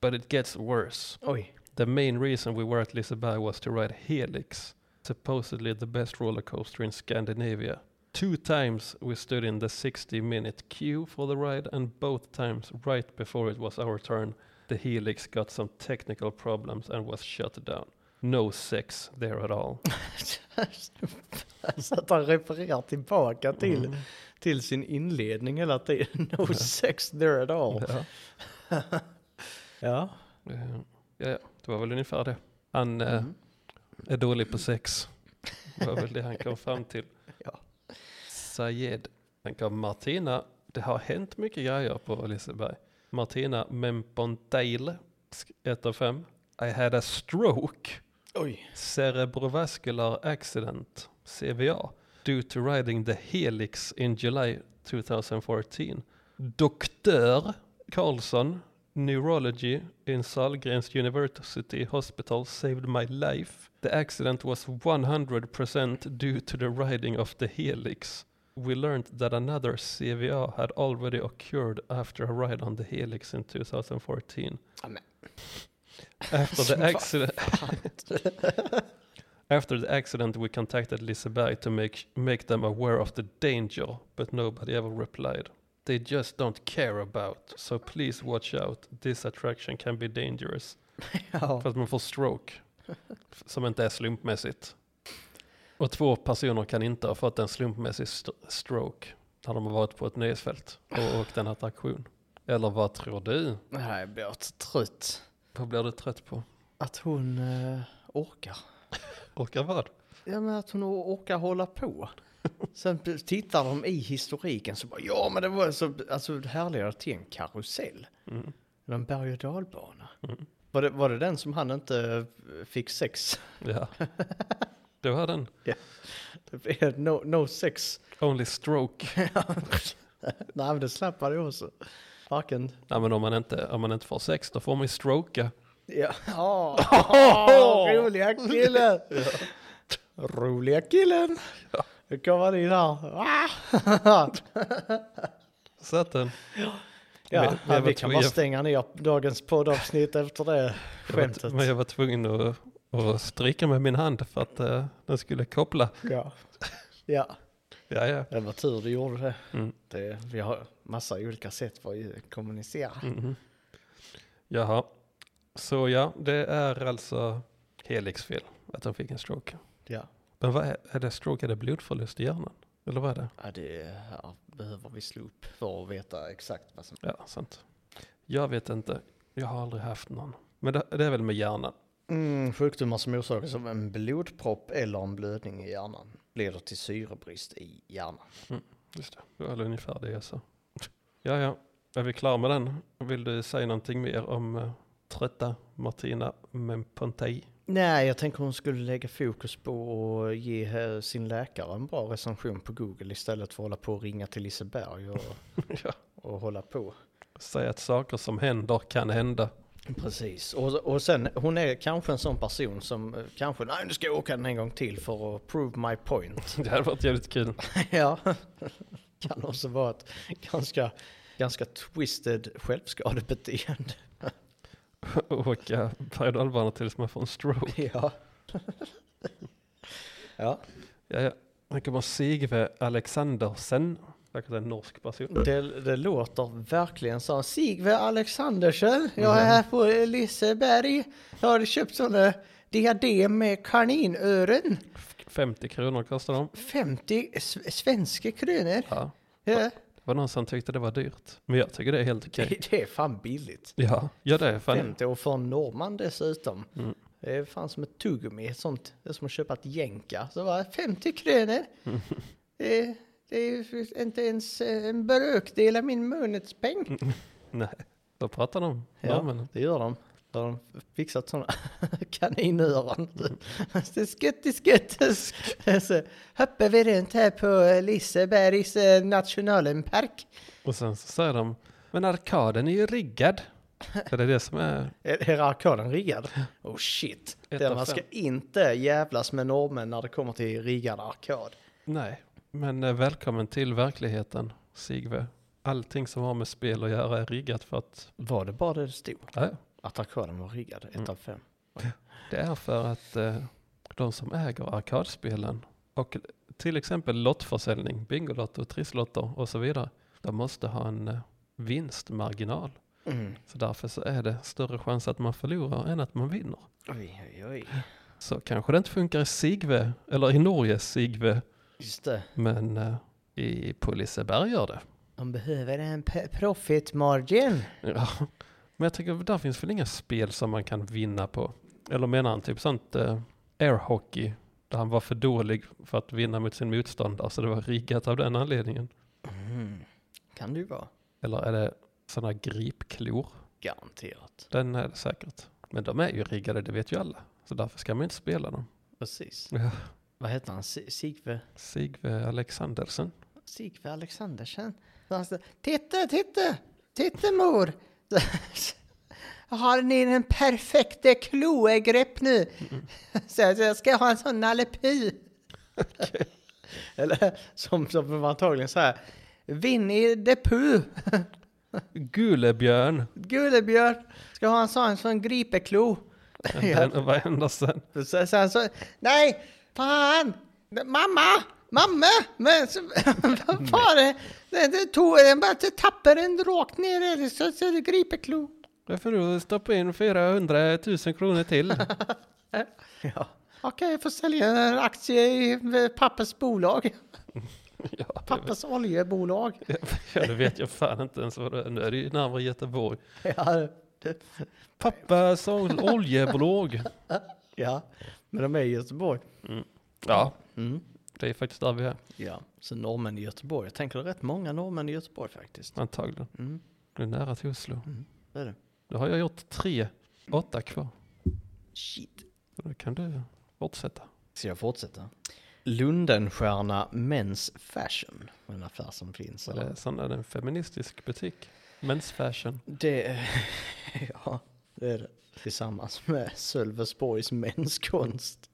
Speaker 2: But it gets worse.
Speaker 3: oj.
Speaker 2: The main reason we were at Liseberg was to ride Helix, supposedly the best roller coaster in Scandinavia. Two times we stood in the 60 minute queue for the ride, and both times, right before it was our turn, the Helix got some technical problems and was shut down. No sex there at all.
Speaker 3: Så att han refererar tillbaka till,
Speaker 2: Mm.
Speaker 3: till sin inledning hela tiden. No sex there at all.
Speaker 2: Ja.
Speaker 3: Ja,
Speaker 2: Eh, Ja, ja, det var väl ungefär det. Han eh,
Speaker 3: Mm.
Speaker 2: är dålig på sex. Det var väl det han kom fram till.
Speaker 3: Ja.
Speaker 2: Sayed. Sen kom Martina. Det har hänt mycket grejer på Liseberg. Martina Mempontail, sk- ett av fem. I had a stroke.
Speaker 3: Oj.
Speaker 2: Cerebrovascular accident, CVA, due to riding the Helix in July 2014. Doktör Carlson, neurology in Sahlgrenska University Hospital saved my life. The accident was 100% due to the riding of the Helix. We learned that another CVA had already occurred after a ride on the Helix in 2014.
Speaker 3: Ja, men.
Speaker 2: After the accident, after the accident, we contacted Liseberg to make make them aware of the danger, but nobody ever replied. They just don't care about. So please watch out. This attraction can be dangerous.
Speaker 3: Ja.
Speaker 2: För att man får stroke. f- Som inte är slumpmässigt. Och två personer kan inte ha fått en slumpmässig st- stroke. När de har varit på ett nöjesfält och åkt en attraktion. Eller vad tror du?
Speaker 3: Det här blir jag så trött.
Speaker 2: Vad blir du trött på?
Speaker 3: Att hon eh, orkar.
Speaker 2: Orkar vad?
Speaker 3: Ja men att hon or- orkar hålla på. Sen p- tittar de i historiken så bara ja men det var så, alltså härligare till en karusell.
Speaker 2: Mm.
Speaker 3: Eller en berg och dalbana.
Speaker 2: Mm.
Speaker 3: Var, det, var det den som han inte eh, fick sex?
Speaker 2: Ja. Det var den.
Speaker 3: Det är no, no sex.
Speaker 2: Only stroke.
Speaker 3: Nej men det slappade jag också. Varken...
Speaker 2: Nej men om man inte, om man inte får sex då får man ju stroka.
Speaker 3: Ja. Oh, roliga killen! Roliga killen! Nu kommer han in här. Ah.
Speaker 2: Satt den. Men-
Speaker 3: Ja,
Speaker 2: men
Speaker 3: ja
Speaker 2: jag
Speaker 3: vi
Speaker 2: var
Speaker 3: kan
Speaker 2: tv-
Speaker 3: bara
Speaker 2: jag-
Speaker 3: stänga ner dagens poddavsnitt efter det
Speaker 2: Jag var t-
Speaker 3: skämtet.
Speaker 2: Men jag var tvungen att, att stryka med min hand för att eh, den skulle koppla.
Speaker 3: Ja. ja,
Speaker 2: Ja, ja.
Speaker 3: det var tur du gjorde det.
Speaker 2: Mm.
Speaker 3: det vi har massa olika sätt för att kommunicera.
Speaker 2: Mhm. Jaha. Så ja, det är alltså Helix fel att han fick en stroke.
Speaker 3: Ja.
Speaker 2: Men vad är, är det stroke? Är det blodförlust i hjärnan? Eller vad är det?
Speaker 3: Ja, det här behöver vi slå upp för att veta exakt vad som...
Speaker 2: Ja, sant. Jag vet inte. Jag har aldrig haft någon. Men det, det är väl med hjärnan.
Speaker 3: Mm, sjukdomar som orsakas av en blodpropp eller en blödning i hjärnan leder till syrebrist i hjärnan.
Speaker 2: Just det, det var väl ungefär det jag sa. Ja, ja, är vi klara med den? Vill du säga någonting mer om eh, trötta Martina Mempontey?
Speaker 3: Nej, jag tänker hon skulle lägga fokus på att ge eh, sin läkare en bra recension på Google istället för att hålla på och ringa till Liseberg och,
Speaker 2: ja.
Speaker 3: och hålla på.
Speaker 2: Säga att saker som händer kan hända.
Speaker 3: Precis, och, och sen hon är kanske en sån person som eh, kanske, nej nu ska jag åka den en gång till för att prove my point.
Speaker 2: Det hade varit jävligt kul.
Speaker 3: ja, kan också vara ett ganska, ganska twisted självskadebeteende.
Speaker 2: Åka berg och dalbana tills man får en stroke.
Speaker 3: ja. ja,
Speaker 2: Ja, ja. Här kommer Sigve Alexandersen. Säkert en norsk person.
Speaker 3: det, det låter verkligen som Sigve Alexandersen, jag är här på Liseberg. Jag har köpt sådana diadem med kaninöron.
Speaker 2: 50 kronor kostar de.
Speaker 3: 50 s- svenska kronor.
Speaker 2: Ja.
Speaker 3: Ja.
Speaker 2: Det var någon som tyckte det var dyrt. Men jag tycker det är helt okej.
Speaker 3: Det är fan billigt.
Speaker 2: Ja, ja det är fan. Mm.
Speaker 3: 50 och för en norrman dessutom. Det är fan som ett tuggummi, ett sånt. Det är som att köpa ett jänka. Så bara 50 kronor. Det, är- det är ju inte ens eh, en brökdel av min månadspeng.
Speaker 2: Mm. Nej, då pratar de om
Speaker 3: Ja,
Speaker 2: norrmännen.
Speaker 3: det gör de. Då har de fixat sådana kaninöron. Det är skött, det är skött. Så hoppar vi runt här på Lisebergs eh, nationalenpark.
Speaker 2: Och sen så säger de, men arkaden är ju riggad. Är det det som är?
Speaker 3: Är är arkaden riggad? Oh shit.
Speaker 2: Ett
Speaker 3: Det
Speaker 2: av
Speaker 3: man ska
Speaker 2: fem.
Speaker 3: inte jävlas med normen när det kommer till riggad arkad.
Speaker 2: Nej, men eh, välkommen till verkligheten, Sigve. Allting som har med spel att göra är riggat för att,
Speaker 3: Var det bara det det stod? Mm.
Speaker 2: ja, ja.
Speaker 3: Att arkaden var riggad, ett av fem.
Speaker 2: det är för att eh, de som äger arkadspelen och till exempel lottförsäljning, Bingolotto, Trisslotter och så vidare, de måste ha en eh, vinstmarginal.
Speaker 3: Mm.
Speaker 2: Så därför så är det större chans att man förlorar än att man vinner.
Speaker 3: Oj, oj, oj.
Speaker 2: Så kanske det inte funkar i Sigve, eller i Norge Sigve,
Speaker 3: Just det.
Speaker 2: Men eh, i, på Liseberg gör det.
Speaker 3: De behöver en p- profit margin.
Speaker 2: Ja. Men jag tycker, där finns väl inga spel som man kan vinna på? Eller menar han typ sånt eh, airhockey? Där han var för dålig för att vinna mot sin motståndare så det var riggat av den anledningen.
Speaker 3: Mm. Kan det ju vara.
Speaker 2: Eller är det sådana gripklor?
Speaker 3: Garanterat.
Speaker 2: Den är det säkert. Men de är ju riggade, det vet ju alla. Så därför ska man inte spela dem.
Speaker 3: Precis.
Speaker 2: Ja.
Speaker 3: Vad heter han? Si- Sigve?
Speaker 2: Sigve Alexandersen.
Speaker 3: Sigve Alexandersen. Så han sa, titta, titta, titta mor! Har ni den perfekta kloegrepp nu? Så jag så jag ska ha en sån nallepi. Eller som, som var antagligen så här. Winnie the Pooh,
Speaker 2: Gulebjörn!
Speaker 3: Gulebjörn, ska ha en sån som gripeklo. Ja.
Speaker 2: Vad händer sen?
Speaker 3: Så, så han sa, nej, fan, mamma, mamma, men så, vad var det? Det, det tog den bara, det tappade den rakt ner i det, så, så det griper klo.
Speaker 2: Jag får nog stoppa in 400 000 kronor till.
Speaker 3: Ja. Okej, jag får sälja en aktie i pappas bolag,
Speaker 2: ja, det,
Speaker 3: pappas oljebolag.
Speaker 2: ja, det vet jag fan inte ens vad det är. Nu är det ju närmare Göteborg.
Speaker 3: Ja, det,
Speaker 2: Pappa såg oljebolag.
Speaker 3: ja, men de är i Göteborg.
Speaker 2: Ja,
Speaker 3: Mm.
Speaker 2: det är faktiskt där vi är.
Speaker 3: Ja, så norrmän i Göteborg. Jag tänker det är rätt många norrmän i Göteborg faktiskt.
Speaker 2: Antagligen.
Speaker 3: Mm.
Speaker 2: Det är nära till Oslo.
Speaker 3: Det är det.
Speaker 2: Då har jag gjort tre. Åtta kvar.
Speaker 3: Shit.
Speaker 2: Så då kan du fortsätta.
Speaker 3: Ska jag fortsätta? Lundenstjärna Men's Fashion. En affär som finns.
Speaker 2: Så det är, sån är det en feministisk butik. Men's fashion.
Speaker 3: Det, ja, det är det. Tillsammans med Sölvesborgs Mänskonst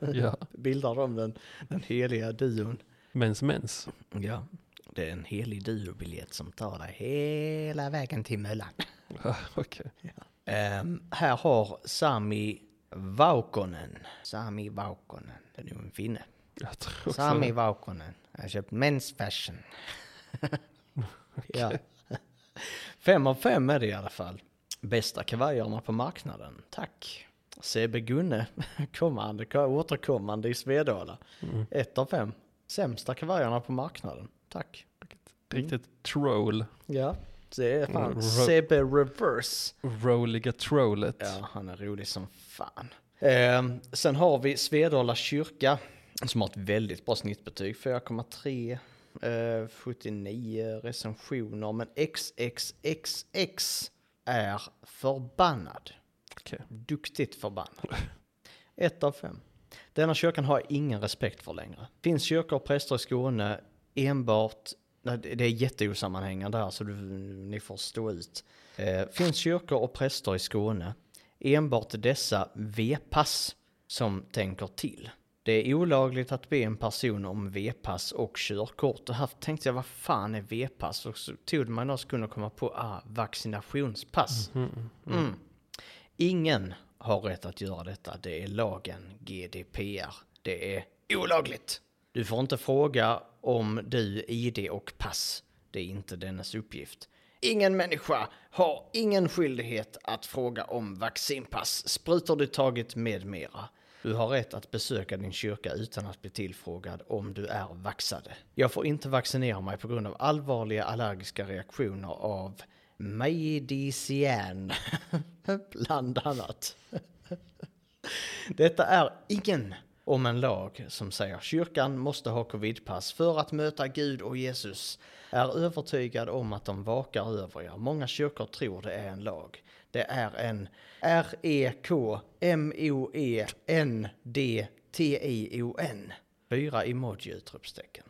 Speaker 2: Ja,
Speaker 3: bildar de den, den heliga duon.
Speaker 2: mens mens.
Speaker 3: Ja, det är en helig duobiljett som tar dig hela vägen till Möllan.
Speaker 2: Ja, Okej.
Speaker 3: Ehm, här har Sami Vaukonen. Sami Vaukonen. Det är nog en finne.
Speaker 2: Jag tror också
Speaker 3: Sami
Speaker 2: det.
Speaker 3: Vaukonen. Jag har köpt Men's Fashion. ja. Fem av fem är det i alla fall. Bästa kavajerna på marknaden. Tack. CB Gunne, kommande, återkommande i Svedala.
Speaker 2: Mm.
Speaker 3: Ett av fem. Sämsta kavajerna på marknaden. Tack.
Speaker 2: Riktigt troll.
Speaker 3: Ja, det är fan
Speaker 2: Mm, ro-
Speaker 3: CB Reverse.
Speaker 2: Rolliga trollet.
Speaker 3: Ja, han är rolig som fan. Ehm, sen har vi Svedala kyrka som har ett väldigt bra snittbetyg, 4,3. Eh, 79 recensioner, men XXXX är förbannad.
Speaker 2: Okej.
Speaker 3: Duktigt förbannad. Ett av fem. Denna kyrkan har jag ingen respekt för längre. Finns kyrkor och präster i Skåne enbart... nej, Det det är jätteosammanhängande här så du, ni får stå ut. Eh, finns kyrkor och präster i Skåne enbart dessa V-pass som tänker till. Det är olagligt att be en person om V-pass och körkort. Och här tänkte jag, vad fan är V-pass? Och så tog det mig några sekunder att komma på, ah, vaccinationspass. Mm. Ingen har rätt att göra detta. Det är lagen GDPR. Det är olagligt. Du får inte fråga om du ID och pass. Det är inte dennes uppgift. Ingen människa har ingen skyldighet att fråga om vaccinpass, sprutor du tagit med mera. Du har rätt att besöka din kyrka utan att bli tillfrågad om du är vaxad. Jag får inte vaccinera mig på grund av allvarliga allergiska reaktioner av Maidician, bland annat. Detta är ingen om en lag som säger kyrkan måste ha covidpass för att möta Gud och Jesus. Är övertygad om att de vakar över er. Många kyrkor tror det är en lag. Det är en E R-E-K-M-O-E-N-D-T-I-O-N. Fyra emoji utropstecken.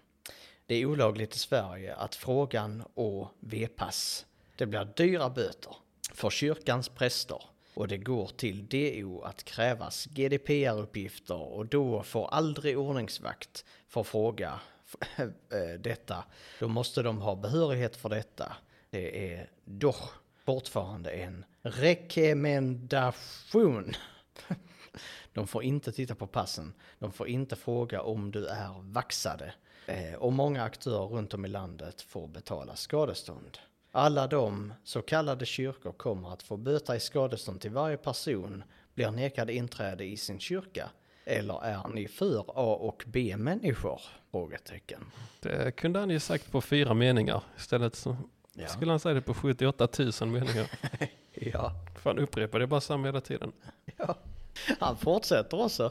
Speaker 3: Det är olagligt i Sverige att frågan och V-pass. Det blir dyra böter för kyrkans präster och det går till DO att krävas GDPR-uppgifter och då får aldrig ordningsvakt för fråga eh, detta. Då måste de ha behörighet för detta. Det är dock fortfarande en rekommendation. De får inte titta på passen. De får inte fråga om du är vaxade. Eh, och många aktörer runt om i landet får betala skadestånd. Alla de så kallade kyrkor kommer att få böta i skadestånd till varje person blir nekad inträde i sin kyrka. Eller är ni för A och B-människor? Frågetecken.
Speaker 2: Det kunde han ju sagt på fyra meningar. Istället så
Speaker 3: Ja.
Speaker 2: skulle han säga det på 78 000 meningar.
Speaker 3: Ja.
Speaker 2: Fan upprepa det bara samma hela tiden.
Speaker 3: Ja. Han fortsätter också.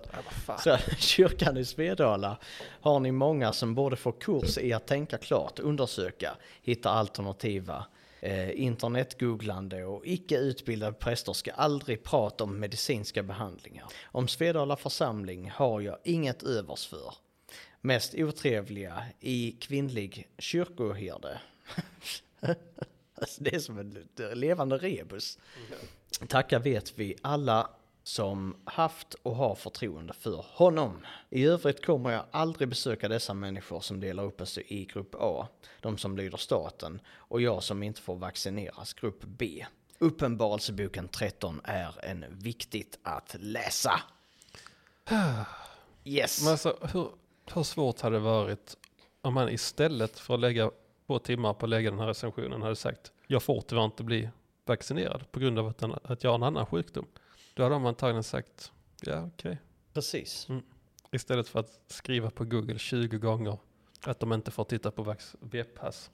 Speaker 3: Så, kyrkan i Svedala har ni många som borde få kurs i att tänka klart, undersöka, hitta alternativa eh, eh, internetgooglande och icke utbildade präster ska aldrig prata om medicinska behandlingar. Om Svedala församling har jag inget övers för. Mest otrevliga i kvinnlig kyrkoherde. Alltså, det är som en levande rebus. Tacka vet vi alla som haft och har förtroende för honom. I övrigt kommer jag aldrig besöka dessa människor som delar upp oss i grupp A, de som lyder staten, och jag som inte får vaccineras, grupp B. Uppenbarelseboken 13 är en viktigt att läsa. Yes.
Speaker 2: Men alltså, hur, hur svårt hade det varit om man istället för att lägga två timmar på att lägga den här recensionen hade sagt jag får tyvärr inte bli vaccinerad på grund av att, den, att jag har en annan sjukdom. Då hade de antagligen sagt ja okej.
Speaker 3: Precis.
Speaker 2: Istället för att skriva på Google 20 gånger att de inte får titta på vax- V-pass.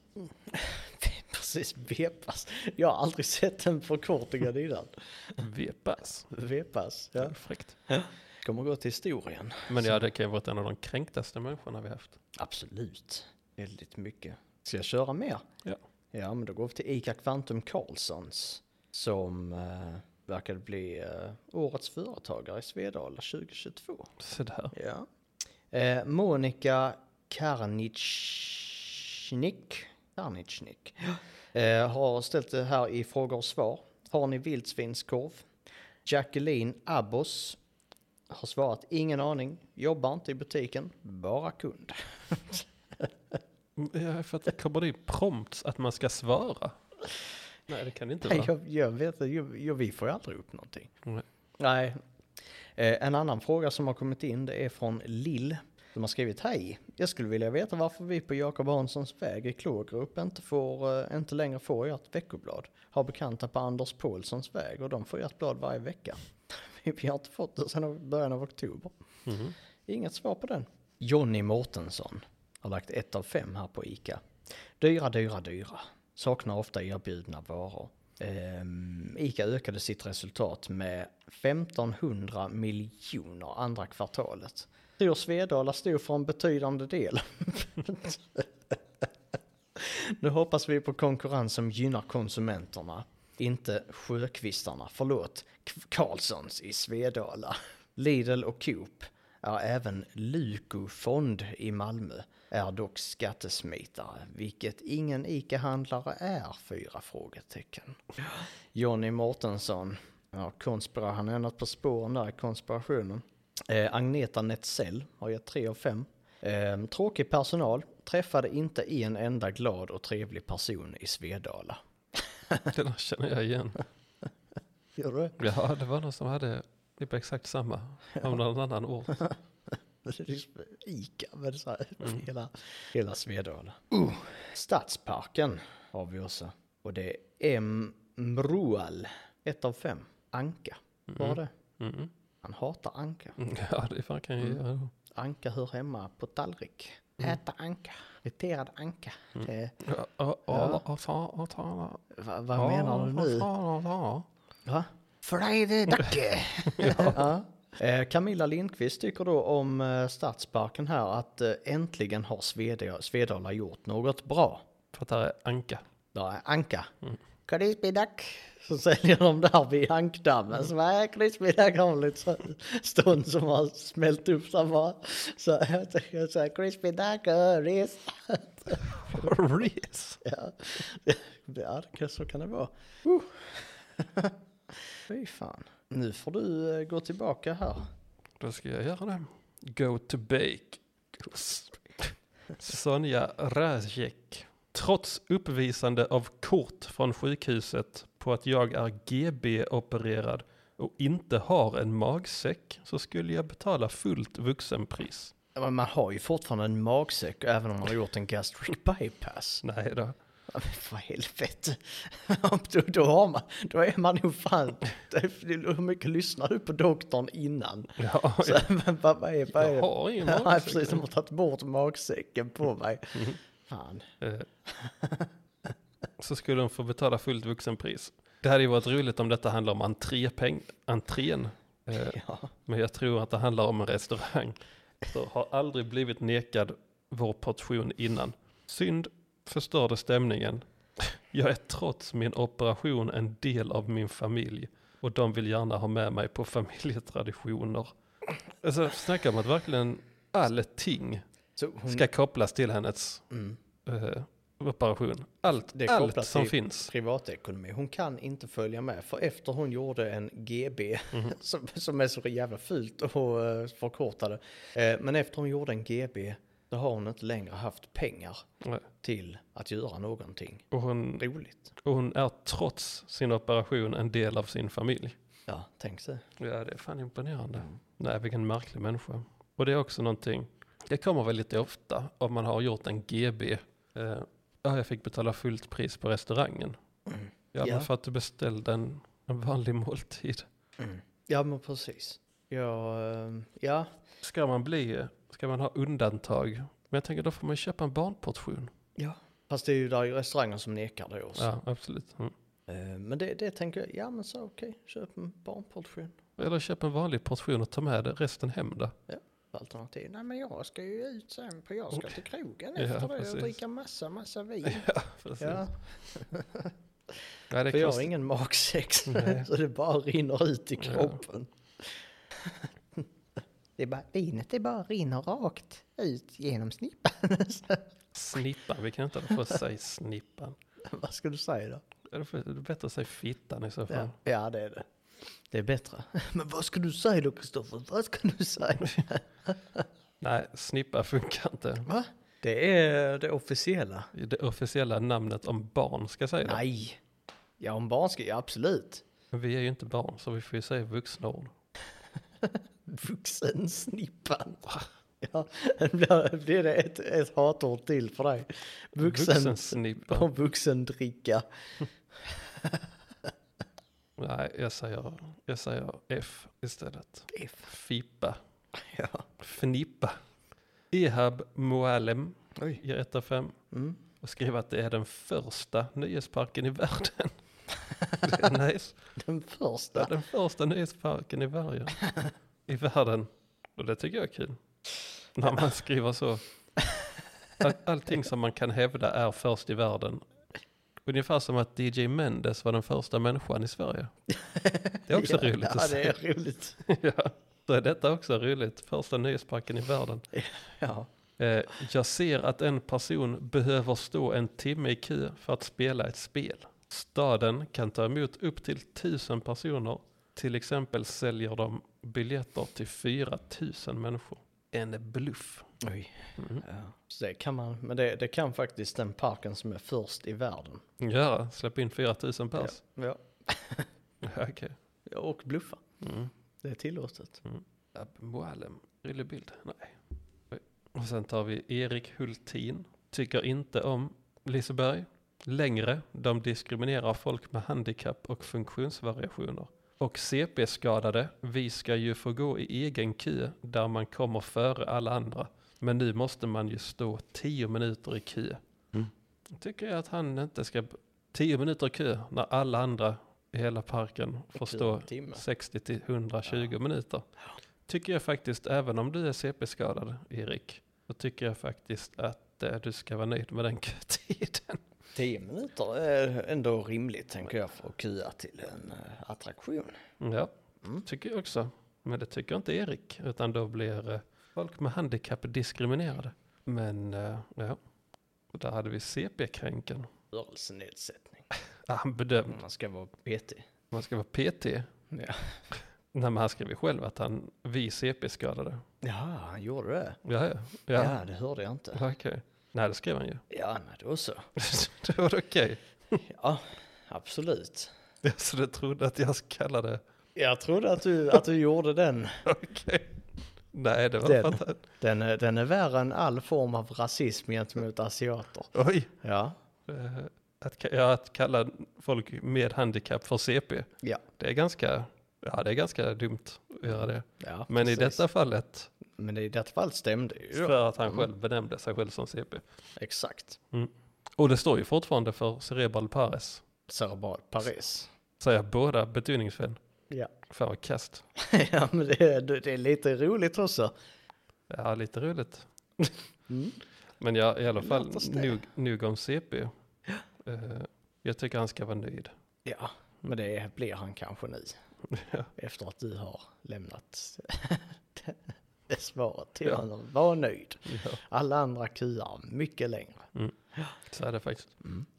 Speaker 3: Precis, vepas. Jag har aldrig sett en förkortning av det innan.
Speaker 2: V-pass.
Speaker 3: Vepas,
Speaker 2: Det
Speaker 3: ja.
Speaker 2: är Fräckt.
Speaker 3: Kommer gå till historien.
Speaker 2: Men ja, det kan ju varit en av de kränktaste människorna vi haft.
Speaker 3: Absolut. Väldigt mycket. Ska jag köra mer?
Speaker 2: Ja.
Speaker 3: Ja, men då går vi till ICA Quantum Carlssons. Som eh, verkade bli eh, årets företagare i Svedala 2022.
Speaker 2: Så där.
Speaker 3: Ja. Eh, Monica Karnichnik, Karnichnik eh, har ställt det här i frågor och svar. Har ni vildsvinskorv? Jacqueline Abbos har svarat ingen aning, jobbar inte i butiken, bara kund.
Speaker 2: Ja, för att det kommer det ju prompts att man ska svara. Nej, det kan det inte
Speaker 3: Nej,
Speaker 2: vara.
Speaker 3: jag, jag vet inte, jag, jag, vi får ju aldrig upp någonting.
Speaker 2: Nej.
Speaker 3: Nej. Eh, en annan fråga som har kommit in det är från Lill. Som har skrivit hej. Jag skulle vilja veta varför vi på Jakob Hanssons väg i Klågrupp inte, får, eh, inte längre får ert veckoblad. Har bekanta på Anders Paulssons väg och de får ert blad varje vecka. Vi har inte fått det sedan början av oktober.
Speaker 2: Mhm.
Speaker 3: Inget svar på den. Jonny Mårtensson har lagt ett av fem här på ICA. Dyra, dyra, dyra. Saknar ofta erbjudna varor. Ehm, ICA ökade sitt resultat med 1500 miljoner andra kvartalet. Tror Svedala stod för en betydande del. nu hoppas vi på konkurrens som gynnar konsumenterna. Inte sjökvistarna, förlåt, K- Carlssons i Svedala. Lidl och Coop är även Lukofond i Malmö är dock skattesmitare, vilket ingen ICA-handlare är, fyra frågetecken. Jonny Mårtensson, ja, konspira, han har ändrat på spåren där i konspirationen. Eh, Agneta Netzell har gett tre av fem. Eh, tråkig personal, träffade inte en enda glad och trevlig person i Svedala.
Speaker 2: Det där känner jag igen.
Speaker 3: Gör du
Speaker 2: Ja, det var någon som hade typ exakt samma. Om någon annan ort.
Speaker 3: Det är liksom Ica med så här, hela, hela Svedala. Mm. Uh. Stadsparken har vi också. Och det är M. Mroal, ett av fem. Anka var det.
Speaker 2: Mm.
Speaker 3: Han hatar anka.
Speaker 2: Ja, det fan kan jag
Speaker 3: Mm.
Speaker 2: göra.
Speaker 3: Anka hör hemma på tallrik. Äta anka. Friterad anka. Det,
Speaker 2: Ja, ja, ja, ja, ja, ja.
Speaker 3: va, vad menar du nu?
Speaker 2: Ja, ja,
Speaker 3: Va? Frejdedacke! ja. Eh, Camilla Lindqvist tycker då om eh, Stadsparken här att eh, äntligen har Sveda- Svedala gjort något bra.
Speaker 2: För att där är Anka.
Speaker 3: Där är Anka. Krispigdack. Så säljer de där vid ankdammen. Så bara, äh, krispigdack har de lite så- stånd som har smält upp. Så bara, så jag tänker så här, eh, krispigdack, och ris.
Speaker 2: Res.
Speaker 3: Ja, ja det kan, så kan det vara. Uh. Fy fan. Nu får du eh, gå tillbaka här.
Speaker 2: Då ska jag göra det. Go to bake. Sonja Razek. Trots uppvisande av kort från sjukhuset på att jag är GB-opererad och inte har en magsäck så skulle jag betala fullt vuxenpris.
Speaker 3: Ja, Men man har ju fortfarande en magsäck även om man har gjort en gastric bypass.
Speaker 2: Nej då.
Speaker 3: Ja, Men för helvete. då, då, har man, då är man nog fan... det är- Hur mycket lyssnar du på doktorn innan?
Speaker 2: Ja,
Speaker 3: Så, men vad, vad är... Vad är
Speaker 2: jag har ingen
Speaker 3: Ja, precis,
Speaker 2: magsäck.
Speaker 3: de har tagit bort magsäcken på mig. Fan.
Speaker 2: Eh, så skulle de få betala fullt vuxenpris. Det hade ju varit roligt om detta handlar om entrépeng, entrén. Eh,
Speaker 3: Ja.
Speaker 2: Men jag tror att det handlar om en restaurang. Så har aldrig blivit nekad vår portion innan. Synd, förstörde stämningen. Jag är trots min operation en del av min familj och de vill gärna ha med mig på familjetraditioner. Alltså, snacka om att verkligen allting
Speaker 3: Så hon,
Speaker 2: ska kopplas till hennes
Speaker 3: mm,
Speaker 2: eh, operation. Allt,
Speaker 3: Det är
Speaker 2: allt
Speaker 3: kopplat
Speaker 2: som
Speaker 3: till-
Speaker 2: finns.
Speaker 3: privatekonomi, hon kan inte följa med. För efter hon gjorde en GB,
Speaker 2: Mhm.
Speaker 3: som, som är så jävla fult och eh, förkortade. Eh, Men efter hon gjorde en GB, då har hon inte längre haft pengar
Speaker 2: Nej.
Speaker 3: till att göra någonting
Speaker 2: Och hon,
Speaker 3: roligt.
Speaker 2: och hon är trots sin operation en del av sin familj.
Speaker 3: Ja, tänk Mm, sig.
Speaker 2: Ja, det är fan imponerande. Nej, vilken märklig människa. Och det är också någonting, det kommer väl lite ofta om man har gjort en GB. Eh, ja, jag fick betala fullt pris på restaurangen.
Speaker 3: mm,
Speaker 2: Ja,
Speaker 3: Ja.
Speaker 2: men för att du beställde en, en vanlig måltid.
Speaker 3: mm. Ja, men precis. Ja, eh, ja,
Speaker 2: Ska man bli, ska man ha undantag? Men jag tänker då får man köpa en barnportion.
Speaker 3: ja. Fast det är ju där ju restauranger som nekar det också.
Speaker 2: Ja, absolut. Mm.
Speaker 3: Eh, Men det, det tänker jag, ja men så okej, köp en barnportion.
Speaker 2: Eller köpa en vanlig portion och ta med det resten hem då.
Speaker 3: Alternativ, nej men jag ska ju ut sen på, jag ska till krogen
Speaker 2: Ja,
Speaker 3: efter det och
Speaker 2: precis.
Speaker 3: dricka massa, massa vin.
Speaker 2: Precis.
Speaker 3: Ja,
Speaker 2: Nej, det
Speaker 3: för jag
Speaker 2: är
Speaker 3: har ingen magsex,
Speaker 2: Nej.
Speaker 3: så det bara rinner ut i
Speaker 2: Ja.
Speaker 3: kroppen. Det är bara, vinet det bara rinner rakt ut genom snippan. Så,
Speaker 2: Snippan, vi kan inte få säga snippan.
Speaker 3: Vad ska du säga då?
Speaker 2: Ja, då får- Det är bättre att säga fittan i så fall.
Speaker 3: Ja, ja, det är det. Det är bättre. Men vad ska du säga då, Kristoffer? Vad ska du säga?
Speaker 2: Nej, snippa funkar inte.
Speaker 3: Va? Det är det officiella.
Speaker 2: Det officiella namnet om barn ska säga det.
Speaker 3: Nej. Ja, om barn ska, ja, absolut.
Speaker 2: Men vi är ju inte barn så vi får ju säga vuxna ord.
Speaker 3: Vuxensnippan. Ja, det blir- blir det ett, ett hatord till för dig. Vuxen
Speaker 2: Vuxensnippa.
Speaker 3: och vuxendricka.
Speaker 2: Nej, jag säger, jag säger F istället.
Speaker 3: F.
Speaker 2: Fippa.
Speaker 3: Ja.
Speaker 2: Fnippa. Ehab Moalem
Speaker 3: Oj.
Speaker 2: ger 1 av 5
Speaker 3: Mm.
Speaker 2: och skriver att det är den första nöjesparken i världen. Det är nice.
Speaker 3: Den
Speaker 2: Det är
Speaker 3: första.
Speaker 2: den första nöjesparken i världen. I världen. Och det tycker jag är kul. När man skriver så. All, allting som man kan hävda är först i världen. Ungefär som att DJ Mendes var den första människan i Sverige. Det är också
Speaker 3: ja,
Speaker 2: roligt
Speaker 3: Ja,
Speaker 2: att
Speaker 3: det
Speaker 2: säga.
Speaker 3: är roligt.
Speaker 2: ja. Så är detta också roligt. Första nöjesparken i världen.
Speaker 3: Ja.
Speaker 2: Eh, jag ser att en person behöver stå en timme i kö för att spela ett spel. Staden kan ta emot upp till tusen personer. Till exempel säljer de biljetter till 4000 människor. Mm. En bluff.
Speaker 3: Oj. Ja. Så det kan man, men det, det kan faktiskt den parken som är först i världen.
Speaker 2: Ja, släpp in 4000 pers.
Speaker 3: Ja.
Speaker 2: Ja. Okej.
Speaker 3: Ja, Och bluffa.
Speaker 2: Mm.
Speaker 3: Det är tillåtet.
Speaker 2: Abmualem, rillebild, nej. Oj. Och sen tar vi Erik Hultin, tycker inte om Liseberg. Längre, de diskriminerar folk med handikapp och funktionsvariationer. Och CP-skadade, vi ska ju få gå i egen kö där man kommer före alla andra. Men nu måste man ju stå tio minuter i kö. Tycker jag att han inte ska... Tio minuter i kö när alla andra i hela parken får stå
Speaker 3: En timme.
Speaker 2: 60 till 120 minuter. Tycker jag faktiskt, även om du är CP-skadad, Erik, så tycker jag faktiskt att eh, du ska vara nöjd med den kötiden.
Speaker 3: Tio minuter är ändå rimligt tänker jag för att kua till en eh, attraktion.
Speaker 2: Ja, tycker jag också. Men det tycker inte Erik, utan då blir eh, folk med handikapp diskriminerade. Men eh, ja, och där hade vi CP-kränken.
Speaker 3: Rörelsenedsättning.
Speaker 2: Ah, Han bedömd.
Speaker 3: Man ska vara petig.
Speaker 2: Man ska vara PT.
Speaker 3: Ja.
Speaker 2: Nej, men han skrev ju själv att han, vi CP-skadade.
Speaker 3: Jaha, han gjorde det?
Speaker 2: Ja, ja.
Speaker 3: Ja.
Speaker 2: ja.
Speaker 3: det hörde jag inte.
Speaker 2: ja. Okej. Nej, det skrev han ju.
Speaker 3: Ja, nej, då så.
Speaker 2: det var okej.
Speaker 3: Ja, absolut.
Speaker 2: Så du trodde att jag kallade...
Speaker 3: Jag trodde att du, att du gjorde den.
Speaker 2: Okej. Nej, det var
Speaker 3: Den.
Speaker 2: för att han...
Speaker 3: Den är, den är värre än all form av rasism gentemot asiater.
Speaker 2: Oj.
Speaker 3: Ja,
Speaker 2: Eh, Att, ka- ja, att kalla folk med handikapp för CP,
Speaker 3: ja,
Speaker 2: det är ganska, ja, det är ganska dumt att göra det.
Speaker 3: ja.
Speaker 2: Men i
Speaker 3: precis.
Speaker 2: detta fallet,
Speaker 3: Men i detta fall stämde ju. då.
Speaker 2: för att han själv benämnde sig själv som CP.
Speaker 3: Exakt.
Speaker 2: Och det står ju fortfarande för cerebral pares.
Speaker 3: Cerebral Paris.
Speaker 2: Säger båda betoningsfel.
Speaker 3: Ja.
Speaker 2: Fan vad kast.
Speaker 3: ja, men det är, det är lite roligt också.
Speaker 2: Ja, lite roligt.
Speaker 3: Mm.
Speaker 2: Men ja, i alla fall,
Speaker 3: Låt oss det.
Speaker 2: nog, nog om CP. Eh, Jag tycker han ska vara nöjd.
Speaker 3: Ja, men det blir han kanske nu.
Speaker 2: Ja.
Speaker 3: Efter att du har lämnat det- det svaret till
Speaker 2: Ja.
Speaker 3: honom. Var nöjd.
Speaker 2: Ja.
Speaker 3: Alla andra kuar mycket längre.
Speaker 2: Så är det faktiskt.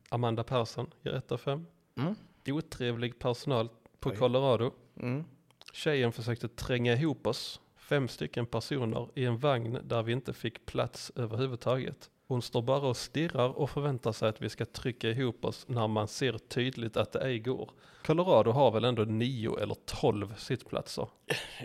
Speaker 2: Amanda Persson ger 1 av 5.
Speaker 3: Mm.
Speaker 2: Otrevlig personal på
Speaker 3: Oj.
Speaker 2: Colorado.
Speaker 3: Mm.
Speaker 2: Tjejen försökte tränga ihop oss, fem stycken personer, i en vagn där vi inte fick plats överhuvudtaget. Hon står bara och stirrar och förväntar sig att vi ska trycka ihop oss när man ser tydligt att det ej går. Colorado har väl ändå nio eller tolv sittplatser?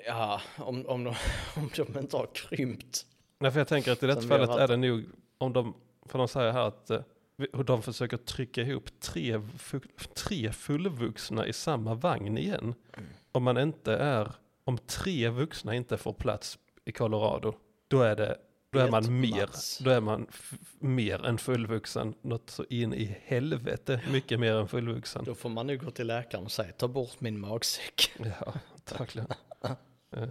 Speaker 3: Ja, om, om, de, om de inte har krympt.
Speaker 2: Nej, för jag tänker att i detta
Speaker 3: Som vi har
Speaker 2: fallet är det nog om de, för de säger här att eh, vi- och de försöker trycka ihop tre, fu- tre fullvuxna i samma vagn igen. Om man inte är, om tre vuxna inte får plats i Colorado, då är det då är
Speaker 3: Helt
Speaker 2: man mer,
Speaker 3: mats.
Speaker 2: då är man f- f- mer än fullvuxen, något så in i helvete mycket mer än fullvuxen.
Speaker 3: Då får man nu gå till läkaren och säga ta bort min magsäck.
Speaker 2: Ja, antagligen. Eh,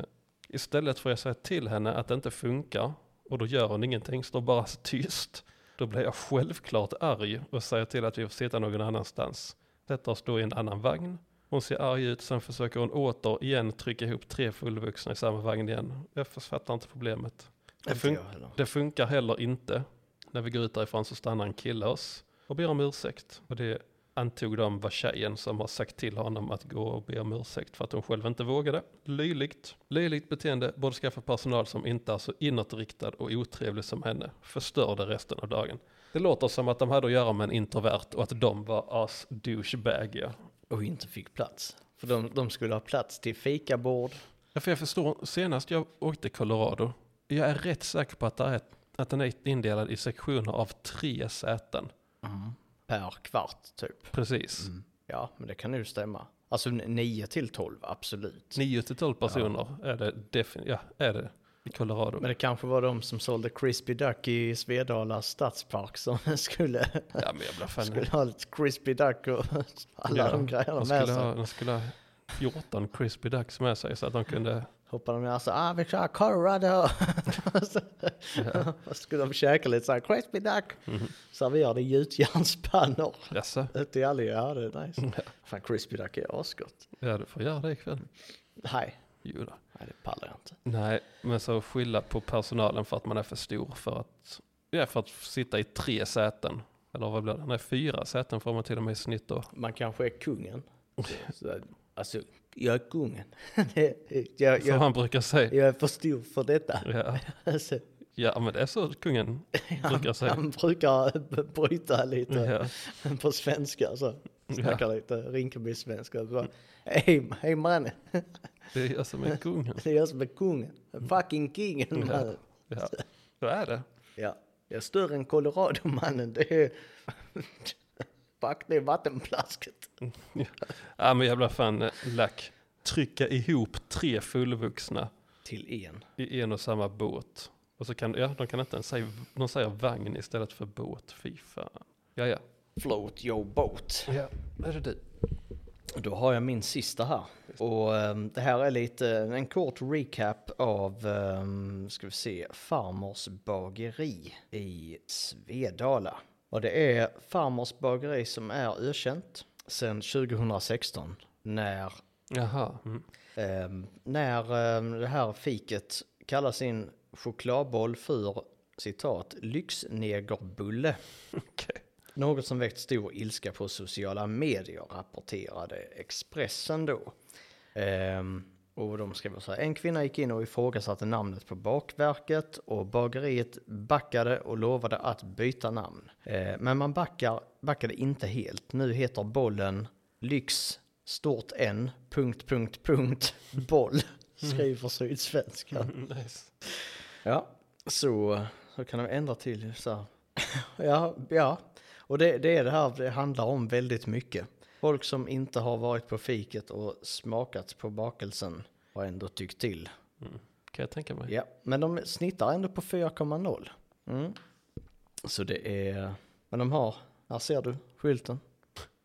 Speaker 2: Istället får jag säga till henne att det inte funkar och då gör hon ingenting, står bara så tyst. Då blir jag självklart arg och säger till att vi får sitta någon annanstans. Sätter oss då i en annan vagn. Hon ser arg ut, sen försöker hon åter igen trycka ihop tre fullvuxna i samma vagn igen. Jag fattar inte problemet. Det,
Speaker 3: Inte
Speaker 2: fun-
Speaker 3: jag heller.
Speaker 2: det funkar heller inte. När vi går ut därifrån så stannar en kille oss och ber om ursäkt. Och det antog de var tjejen som har sagt till honom att gå och be om ursäkt för att hon själv inte vågade. Löjligt. Löjligt beteende borde skaffa personal som inte är så inåtriktad och otrevlig som henne. Förstörde resten av dagen. Det låter som att de hade att göra med en introvert och att de var as douchebagiga.
Speaker 3: Och inte fick plats. För de, de skulle ha plats till fikabord.
Speaker 2: Ja, för jag förstår, senast jag åkte Colorado, jag är rätt säker på att, det är, att den är indelad i sektioner av tre säten.
Speaker 3: Per kvart typ.
Speaker 2: Precis.
Speaker 3: Ja, men det kan ju stämma. Alltså 9 till 12, absolut.
Speaker 2: 9 till 12 personer är det definitivt. Ja, är det. I Colorado.
Speaker 3: Men det kanske var de som sålde Crispy Duck i Svedala stadspark som skulle,
Speaker 2: ja, men jag blir fan...
Speaker 3: skulle ha lite Crispy Duck och alla
Speaker 2: ja,
Speaker 3: de grejerna med
Speaker 2: de skulle
Speaker 3: sig.
Speaker 2: ha, de skulle ha 14 crispy ducks med sig så att de kunde...
Speaker 3: Hoppade de ner och sa ah, vi kör Colorado. och skulle de käka lite så här Crispy Duck. Serverade gjutjärnspannor.
Speaker 2: Jaså?
Speaker 3: Ute i alla ja, det är nice. Fan, Crispy Duck är asgott.
Speaker 2: Ja, du får göra det ikväll.
Speaker 3: Nej,
Speaker 2: Jo då.
Speaker 3: nej, det pallar jag inte.
Speaker 2: Nej, men så skylla på personalen för att man är för stor för att... Ja, för att sitta i tre säten. Eller vad blir det? Nej, fyra säten får man till och med i snitt då.
Speaker 3: Man kanske är kungen. Så, alltså, jag är kungen. Det- jag,
Speaker 2: Som
Speaker 3: jag,
Speaker 2: han brukar säga.
Speaker 3: jag är för stor för detta.
Speaker 2: Ja.
Speaker 3: Alltså,
Speaker 2: ja, men det är så kungen brukar säga.
Speaker 3: han brukar bryta lite
Speaker 2: Ja.
Speaker 3: på svenska. Så. Snackar lite Rinkeby-svenska. Så, Hej hej mannen,
Speaker 2: Det är jag som är kungen.
Speaker 3: det är jag som är kungen. Fucking kingen
Speaker 2: Ja,
Speaker 3: mannen.
Speaker 2: ja. så är det.
Speaker 3: Ja, jag är större än Colorado-mannen. Det är... Fuck, det är vattenplasket.
Speaker 2: Ja, men jag blir fan eh, lack. Trycka ihop tre fullvuxna
Speaker 3: Till en.
Speaker 2: i en och samma båt. Och så kan, ja, de kan inte ens säga, de säger vagn istället för båt. Fy fan. Ja, ja.
Speaker 3: Float your boat.
Speaker 2: Ja, är det du?
Speaker 3: Då har jag min sista här. Och ehm, det här är lite en kort recap av, um, ska vi se, Farmors bageri i Svedala. Och det är Farmors bageri som är ökänt sedan 2016 när
Speaker 2: Jaha. Mm.
Speaker 3: Ehm, när ehm, det här fiket kallar sin chokladboll för citat lyxnegerbulle.
Speaker 2: Okej.
Speaker 3: Något som väckt stor ilska på sociala medier rapporterade Expressen då. Ehm, och de skrev så här, en kvinna gick in och ifrågasatte namnet på bakverket och bageriet backade och lovade att byta namn. Ehm, men man backar, backade inte helt. Nu heter bollen Lyx stort N, punkt, punkt, punkt, boll, skriver Sydsvenskan.
Speaker 2: Nice.
Speaker 3: Ja, så, så kan de ändra till så här. ja, ja, och det, det är det här det handlar om väldigt mycket. Folk som inte har varit på fiket och smakat på bakelsen har ändå tyckt till.
Speaker 2: Kan jag tänka mig.
Speaker 3: Ja, men de snittar ändå på 4,0. Mm. Så det är, men de har, här ser du skylten.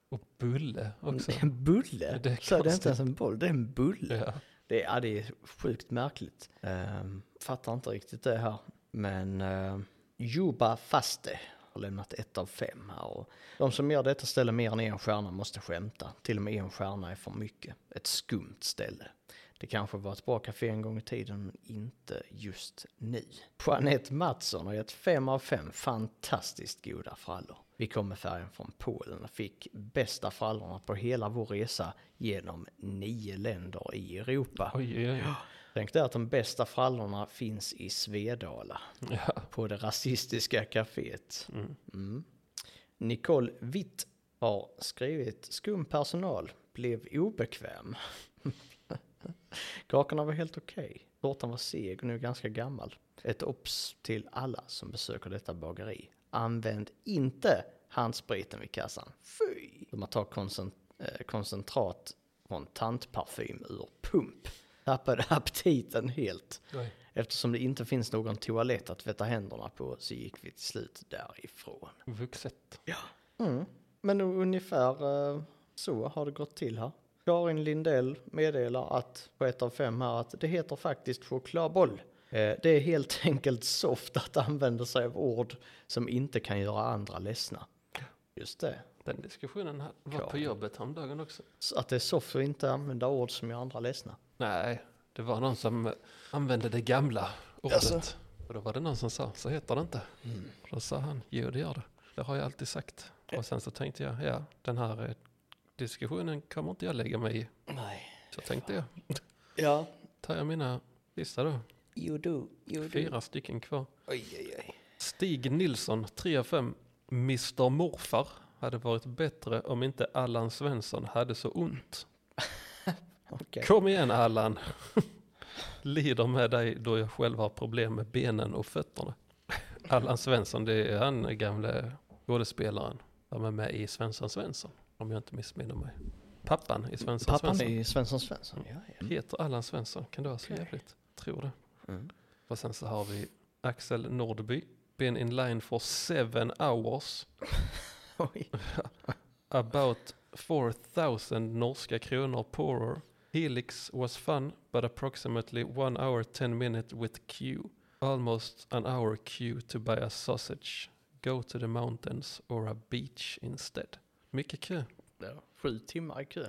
Speaker 2: Och bulle också.
Speaker 3: En bulle?
Speaker 2: Det är
Speaker 3: så det är
Speaker 2: konstigt.
Speaker 3: inte ens en boll, det är en bulle.
Speaker 2: Mm. Ja.
Speaker 3: Det, ja, det är sjukt märkligt. Ehm, fattar inte riktigt det här. Men uh, eh, Juba Faste har lämnat ett av fem här. Och de som gör detta ställe mer än en stjärna måste skämta. Till och med en stjärna är för mycket. Ett skumt ställe. Det kanske var ett bra café en gång i tiden, men inte just nu. Jeanette Mattsson har gett fem av fem fantastiskt goda frallor. Vi kom med färjan från Polen och fick bästa frallorna på hela vår resa genom nio länder i Europa.
Speaker 2: Oj, oj, oj.
Speaker 3: Tänk dig att de bästa frallorna finns i Svedala,
Speaker 2: Ja.
Speaker 3: på det rasistiska kaféet. Mm. Nicole Witt har skrivit skum personal, blev obekväm. Kakorna var helt okej. Tårtan var seg och nu ganska gammal. Ett obs till alla som besöker detta bageri. Använd inte handspriten vid kassan. Fy! De har tagit koncent- eh, koncentrat från tantparfym ur pump. Tappade aptiten helt.
Speaker 2: Oj.
Speaker 3: Eftersom det inte finns någon toalett att tvätta händerna på så gick vi till slut därifrån.
Speaker 2: Vuxet.
Speaker 3: Mm. Men nog ungefär eh, så har det gått till här. Karin Lindell meddelar att på ett av fem här att det heter faktiskt chokladboll. Eh, Det är helt enkelt soft att använda sig av ord som inte kan göra andra ledsna. Just det.
Speaker 2: Den diskussionen här var
Speaker 3: Ja.
Speaker 2: på jobbet häromdagen också.
Speaker 3: Så att det är soft att inte använda ord som gör andra ledsna.
Speaker 2: Nej, det var någon som eh, använde det gamla ordet.
Speaker 3: Jaså?
Speaker 2: Och då var det någon som sa, så heter det inte. Då sa han, jo det gör det. Det har jag alltid sagt. Och sen så tänkte jag, ja den här eh, diskussionen kommer inte jag lägga mig i.
Speaker 3: Nej.
Speaker 2: Så tänkte jag,
Speaker 3: Ja.
Speaker 2: tar jag mina sista då.
Speaker 3: You do. You
Speaker 2: Fyra stycken kvar.
Speaker 3: Oj, oj, oj.
Speaker 2: Stig Nilsson, 3 av 5. Mr Morfar hade varit bättre om inte Allan Svensson hade så ont.
Speaker 3: Okej.
Speaker 2: Kom igen Allan! Lider med dig då jag själv har problem med benen och fötterna. Allan Svensson, det är han gamle skådespelaren. Han var med i Svensson Svensson, om jag inte missminner mig. Pappan i Svensson
Speaker 3: Pappan
Speaker 2: Svensson.
Speaker 3: är Svensson Svensson. Ja, ja.
Speaker 2: Heter Allan Svensson, kan det vara så
Speaker 3: Okej.
Speaker 2: jävligt? Tror det.
Speaker 3: Mm.
Speaker 2: Och sen så har vi Axel Nordby. Been in line for seven hours.
Speaker 3: Oj.
Speaker 2: About 4000 norska kronor poorer. Helix was fun, but approximately one hour 10 minute with queue. Almost an hour queue to buy a sausage. Go to the mountains or a beach instead. Mycket kö.
Speaker 3: Ja, sju timmar i kö.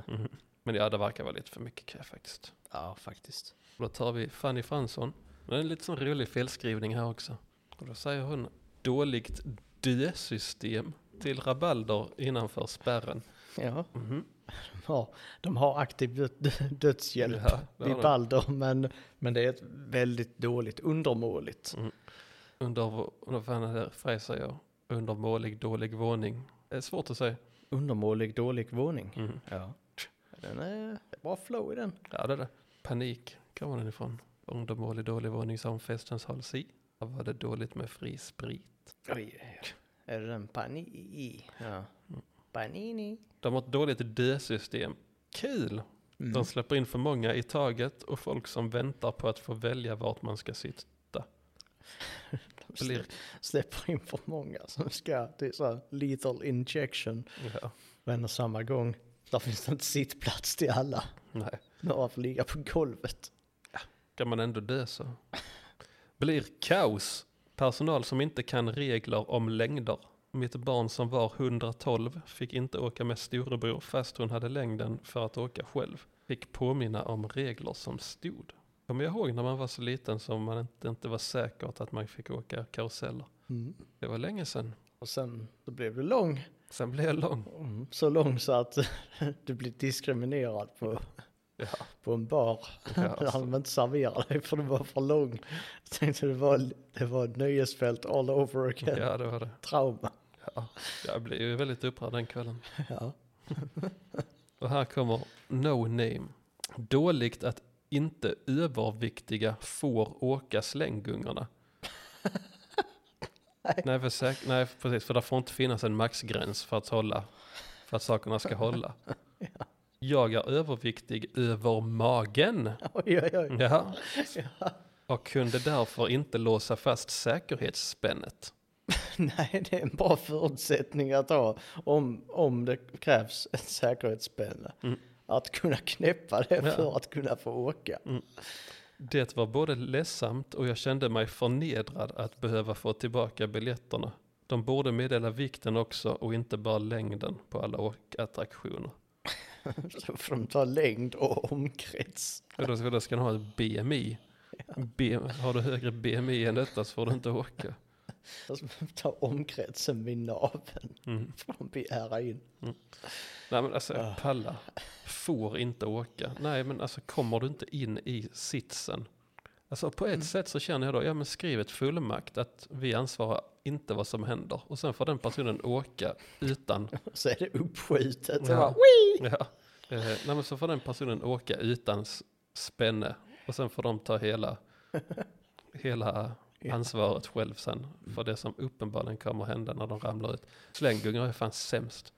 Speaker 2: Men ja, det verkar vara lite för mycket kö faktiskt.
Speaker 3: Ja, faktiskt.
Speaker 2: Och Då tar vi Fanny Fransson. Det är en lite sån rolig felskrivning här också. Och då säger hon dåligt dösystem till rabalder innanför spärren.
Speaker 3: Ja,
Speaker 2: Mhm.
Speaker 3: de har, de har aktiv dö- dö- dödshjälp
Speaker 2: Ja, det har
Speaker 3: vid
Speaker 2: de.
Speaker 3: Balder, men, men det är ett väldigt dåligt, undermåligt.
Speaker 2: Under, vad fan är det Fraser jag? Undermålig dålig våning. Det är svårt att säga.
Speaker 3: Undermålig, dålig våning.
Speaker 2: Mm.
Speaker 3: Ja. Den är det är bra flow i den.
Speaker 2: Ja, det är det. Panik kommer den ifrån. Undermålig dålig våning som festens hålls i. Här var det dåligt med fri sprit.
Speaker 3: Oj, är det den panini? Ja. Panini.
Speaker 2: De har ett dåligt dösystem. Kul!
Speaker 3: Mm.
Speaker 2: De släpper in för många i taget och folk som väntar på att få välja vart man ska sitta.
Speaker 3: De
Speaker 2: Blir-
Speaker 3: slä- släpper in för många som ska, det är så här lethal injection,
Speaker 2: Ja,
Speaker 3: men och samma gång, där finns det inte sittplats till alla.
Speaker 2: nej.
Speaker 3: Några får ligga på golvet.
Speaker 2: kan man ändå dö så. Blir kaos. Personal som inte kan regler om längder. Mitt barn som var 112 fick inte åka med storebror fast hon hade längden för att åka själv. Fick påminna om regler som stod. Kommer jag ihåg när man var så liten som man inte, inte var säker på att man fick åka karuseller.
Speaker 3: Mm.
Speaker 2: Det var länge sedan.
Speaker 3: Och sen så blev du lång.
Speaker 2: Sen blev jag lång.
Speaker 3: Så lång så att du blev diskriminerad på,
Speaker 2: Ja.
Speaker 3: på en bar.
Speaker 2: Ja, alltså.
Speaker 3: Där de inte serverade dig för du var för lång. Jag tänkte det var, det var ett nöjesfält all over again.
Speaker 2: Ja, det var det.
Speaker 3: Trauma.
Speaker 2: Ja. Jag blev ju väldigt upprörd den kvällen.
Speaker 3: Ja.
Speaker 2: Och här kommer No Name. Dåligt att inte överviktiga får åka slänggungorna. nej, för säk- nej, precis. För det får inte finnas en maxgräns för att, hålla, för att sakerna ska hålla. Jag är överviktig över magen.
Speaker 3: Oj, oj, oj.
Speaker 2: Ja. Och kunde därför inte låsa fast säkerhetsspännet.
Speaker 3: Nej, det är en bra förutsättning att ha om, om det krävs ett säkerhetsspänne. Att kunna knäppa det
Speaker 2: Mm. Ja.
Speaker 3: för att kunna få åka.
Speaker 2: Det var både ledsamt och jag kände mig förnedrad att behöva få tillbaka biljetterna. De borde meddela vikten också och inte bara längden på alla å- attraktioner.
Speaker 3: Så får de ta längd och omkrets.
Speaker 2: Och då ska, då ska den ha ett BMI. B, har du högre BMI än detta så får du inte
Speaker 3: Så
Speaker 2: åka.
Speaker 3: får Alltså, de ta omkretsen vid naveln.
Speaker 2: Mm.
Speaker 3: Får de begära in.
Speaker 2: Nej men alltså jag pallar. Får inte åka. Nej men alltså kommer du inte in i sitsen. Alltså på ett sätt så känner jag då, ja men skriv ett fullmakt att vi ansvarar inte vad som händer. Och sen får den personen åka utan.
Speaker 3: Och så är det uppskjutet. Och
Speaker 2: Ja.
Speaker 3: bara, "Wii!"
Speaker 2: Ja. Eh, nej men så får den personen åka utan s- spänne. Och sen får de ta hela, hela ansvaret själv sen. För det som uppenbarligen kommer hända när de ramlar ut. Slänggungar är fan sämst.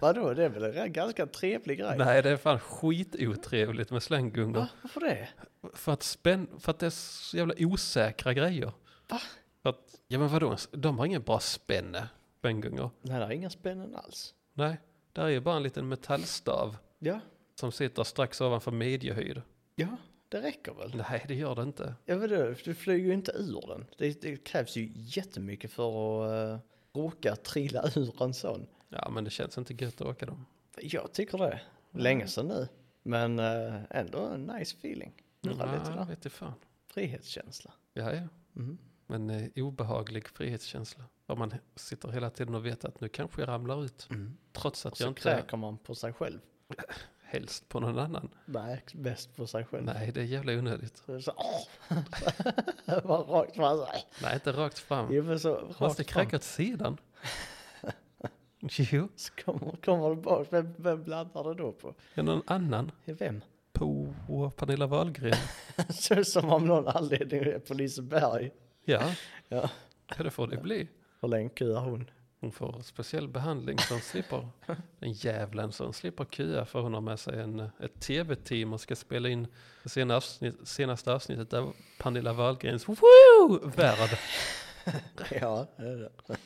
Speaker 3: Vadå, det är väl en ganska trevlig grej?
Speaker 2: Nej det är fan skitotrevligt med slänggungar.
Speaker 3: Va? Varför det?
Speaker 2: För att, spänn, för att det är så jävla osäkra grejer.
Speaker 3: Va?
Speaker 2: För att, ja men vadå, de har ingen bra spänne, spänngungar.
Speaker 3: Nej, det är inga spännen alls.
Speaker 2: Nej, där är ju bara en liten metallstav
Speaker 3: Ja,
Speaker 2: som sitter strax ovanför midjehöjd.
Speaker 3: ja, det räcker väl.
Speaker 2: Nej, det gör det inte.
Speaker 3: Ja, vadå, du flyger ju inte ur den. Det, det krävs ju jättemycket för att uh, råka trilla ur en sån.
Speaker 2: Ja, men det känns inte gött att åka dem.
Speaker 3: Jag tycker det.
Speaker 2: Mm.
Speaker 3: Länge sedan nu. Men eh, ändå en nice feeling. Det var lite
Speaker 2: Nej,
Speaker 3: där.
Speaker 2: vet du fan.
Speaker 3: Frihetskänsla.
Speaker 2: Ja, ja.
Speaker 3: Mm.
Speaker 2: Men eh, obehaglig frihetskänsla. Om man sitter hela tiden och vet att nu kanske jag ramlar ut. Trots att
Speaker 3: Mm. Och
Speaker 2: jag
Speaker 3: så
Speaker 2: inte
Speaker 3: kräker man på sig själv.
Speaker 2: helst på någon annan.
Speaker 3: Nej, bäst på sig själv.
Speaker 2: Nej, det är jävla onödigt.
Speaker 3: Så, så, åh! Bara rakt fram. Så, äh.
Speaker 2: Nej, inte rakt fram.
Speaker 3: Jo, men så
Speaker 2: Fast det
Speaker 3: rakt fram.
Speaker 2: kräker åt sidan. Jo,
Speaker 3: Så kommer, kommer det bort. Vem, vem blandar det då på?
Speaker 2: är någon annan
Speaker 3: Vem?
Speaker 2: på Pernilla Wahlgren?
Speaker 3: Så som av någon anledning är på Liseberg.
Speaker 2: Ja,
Speaker 3: Ja.
Speaker 2: ja det får det bli.
Speaker 3: Hur länge köar hon?
Speaker 2: Hon får speciell behandling så hon slipper, den jävlen så hon slipper köa för hon har med sig en, ett tv-team och ska spela in det sena avsnitt, senaste avsnittet där Pernilla Wahlgrens woo värld.
Speaker 3: Ja, det är det.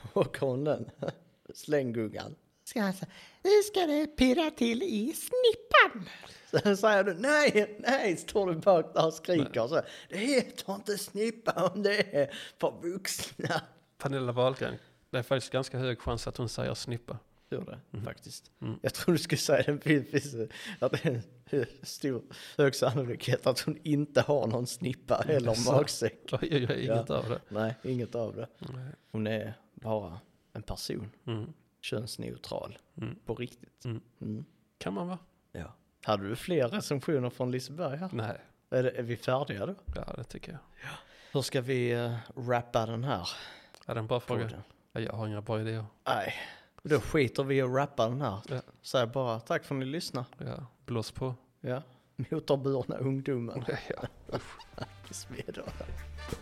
Speaker 3: Och hon den. Slänggungan. Ska han säga, nu ska det pirra till i snippan. Sen säger du nej, nej, står du bak där och skriker så. Det heter inte snippa om det är för vuxna.
Speaker 2: Pernilla Wahlgren, det är faktiskt ganska hög chans att hon säger snippa.
Speaker 3: Gör det,
Speaker 2: Mhm.
Speaker 3: faktiskt.
Speaker 2: Mm.
Speaker 3: Jag tror du skulle säga det, finns- finns- att det är en stor, hög sannolikhet att hon inte har någon snippa eller
Speaker 2: Mm. Jaså?
Speaker 3: magsäck.
Speaker 2: Jag gör inget
Speaker 3: Ja.
Speaker 2: av det.
Speaker 3: Nej, inget av det.
Speaker 2: Nej.
Speaker 3: Hon är bara en person.
Speaker 2: Mm.
Speaker 3: könsneutral
Speaker 2: Mm.
Speaker 3: på riktigt.
Speaker 2: Mm.
Speaker 3: Mm.
Speaker 2: Kan man va?
Speaker 3: Ja. Hade du fler recensioner från Liseberg här?
Speaker 2: Nej,
Speaker 3: Är, det, är vi färdiga då?
Speaker 2: ja det tycker jag.
Speaker 3: Hur ska vi uh, rappa den här
Speaker 2: Ja, det är en bra fråga.
Speaker 3: podden?
Speaker 2: Ja, Jag har inga bra idéer.
Speaker 3: Nej, då skiter vi i att rappa den här.
Speaker 2: Ja.
Speaker 3: Säg bara tack för att ni lyssnade.
Speaker 2: Ja, blås på.
Speaker 3: Ja. Motorburna ungdomen.
Speaker 2: Ja.
Speaker 3: Tills vi är då.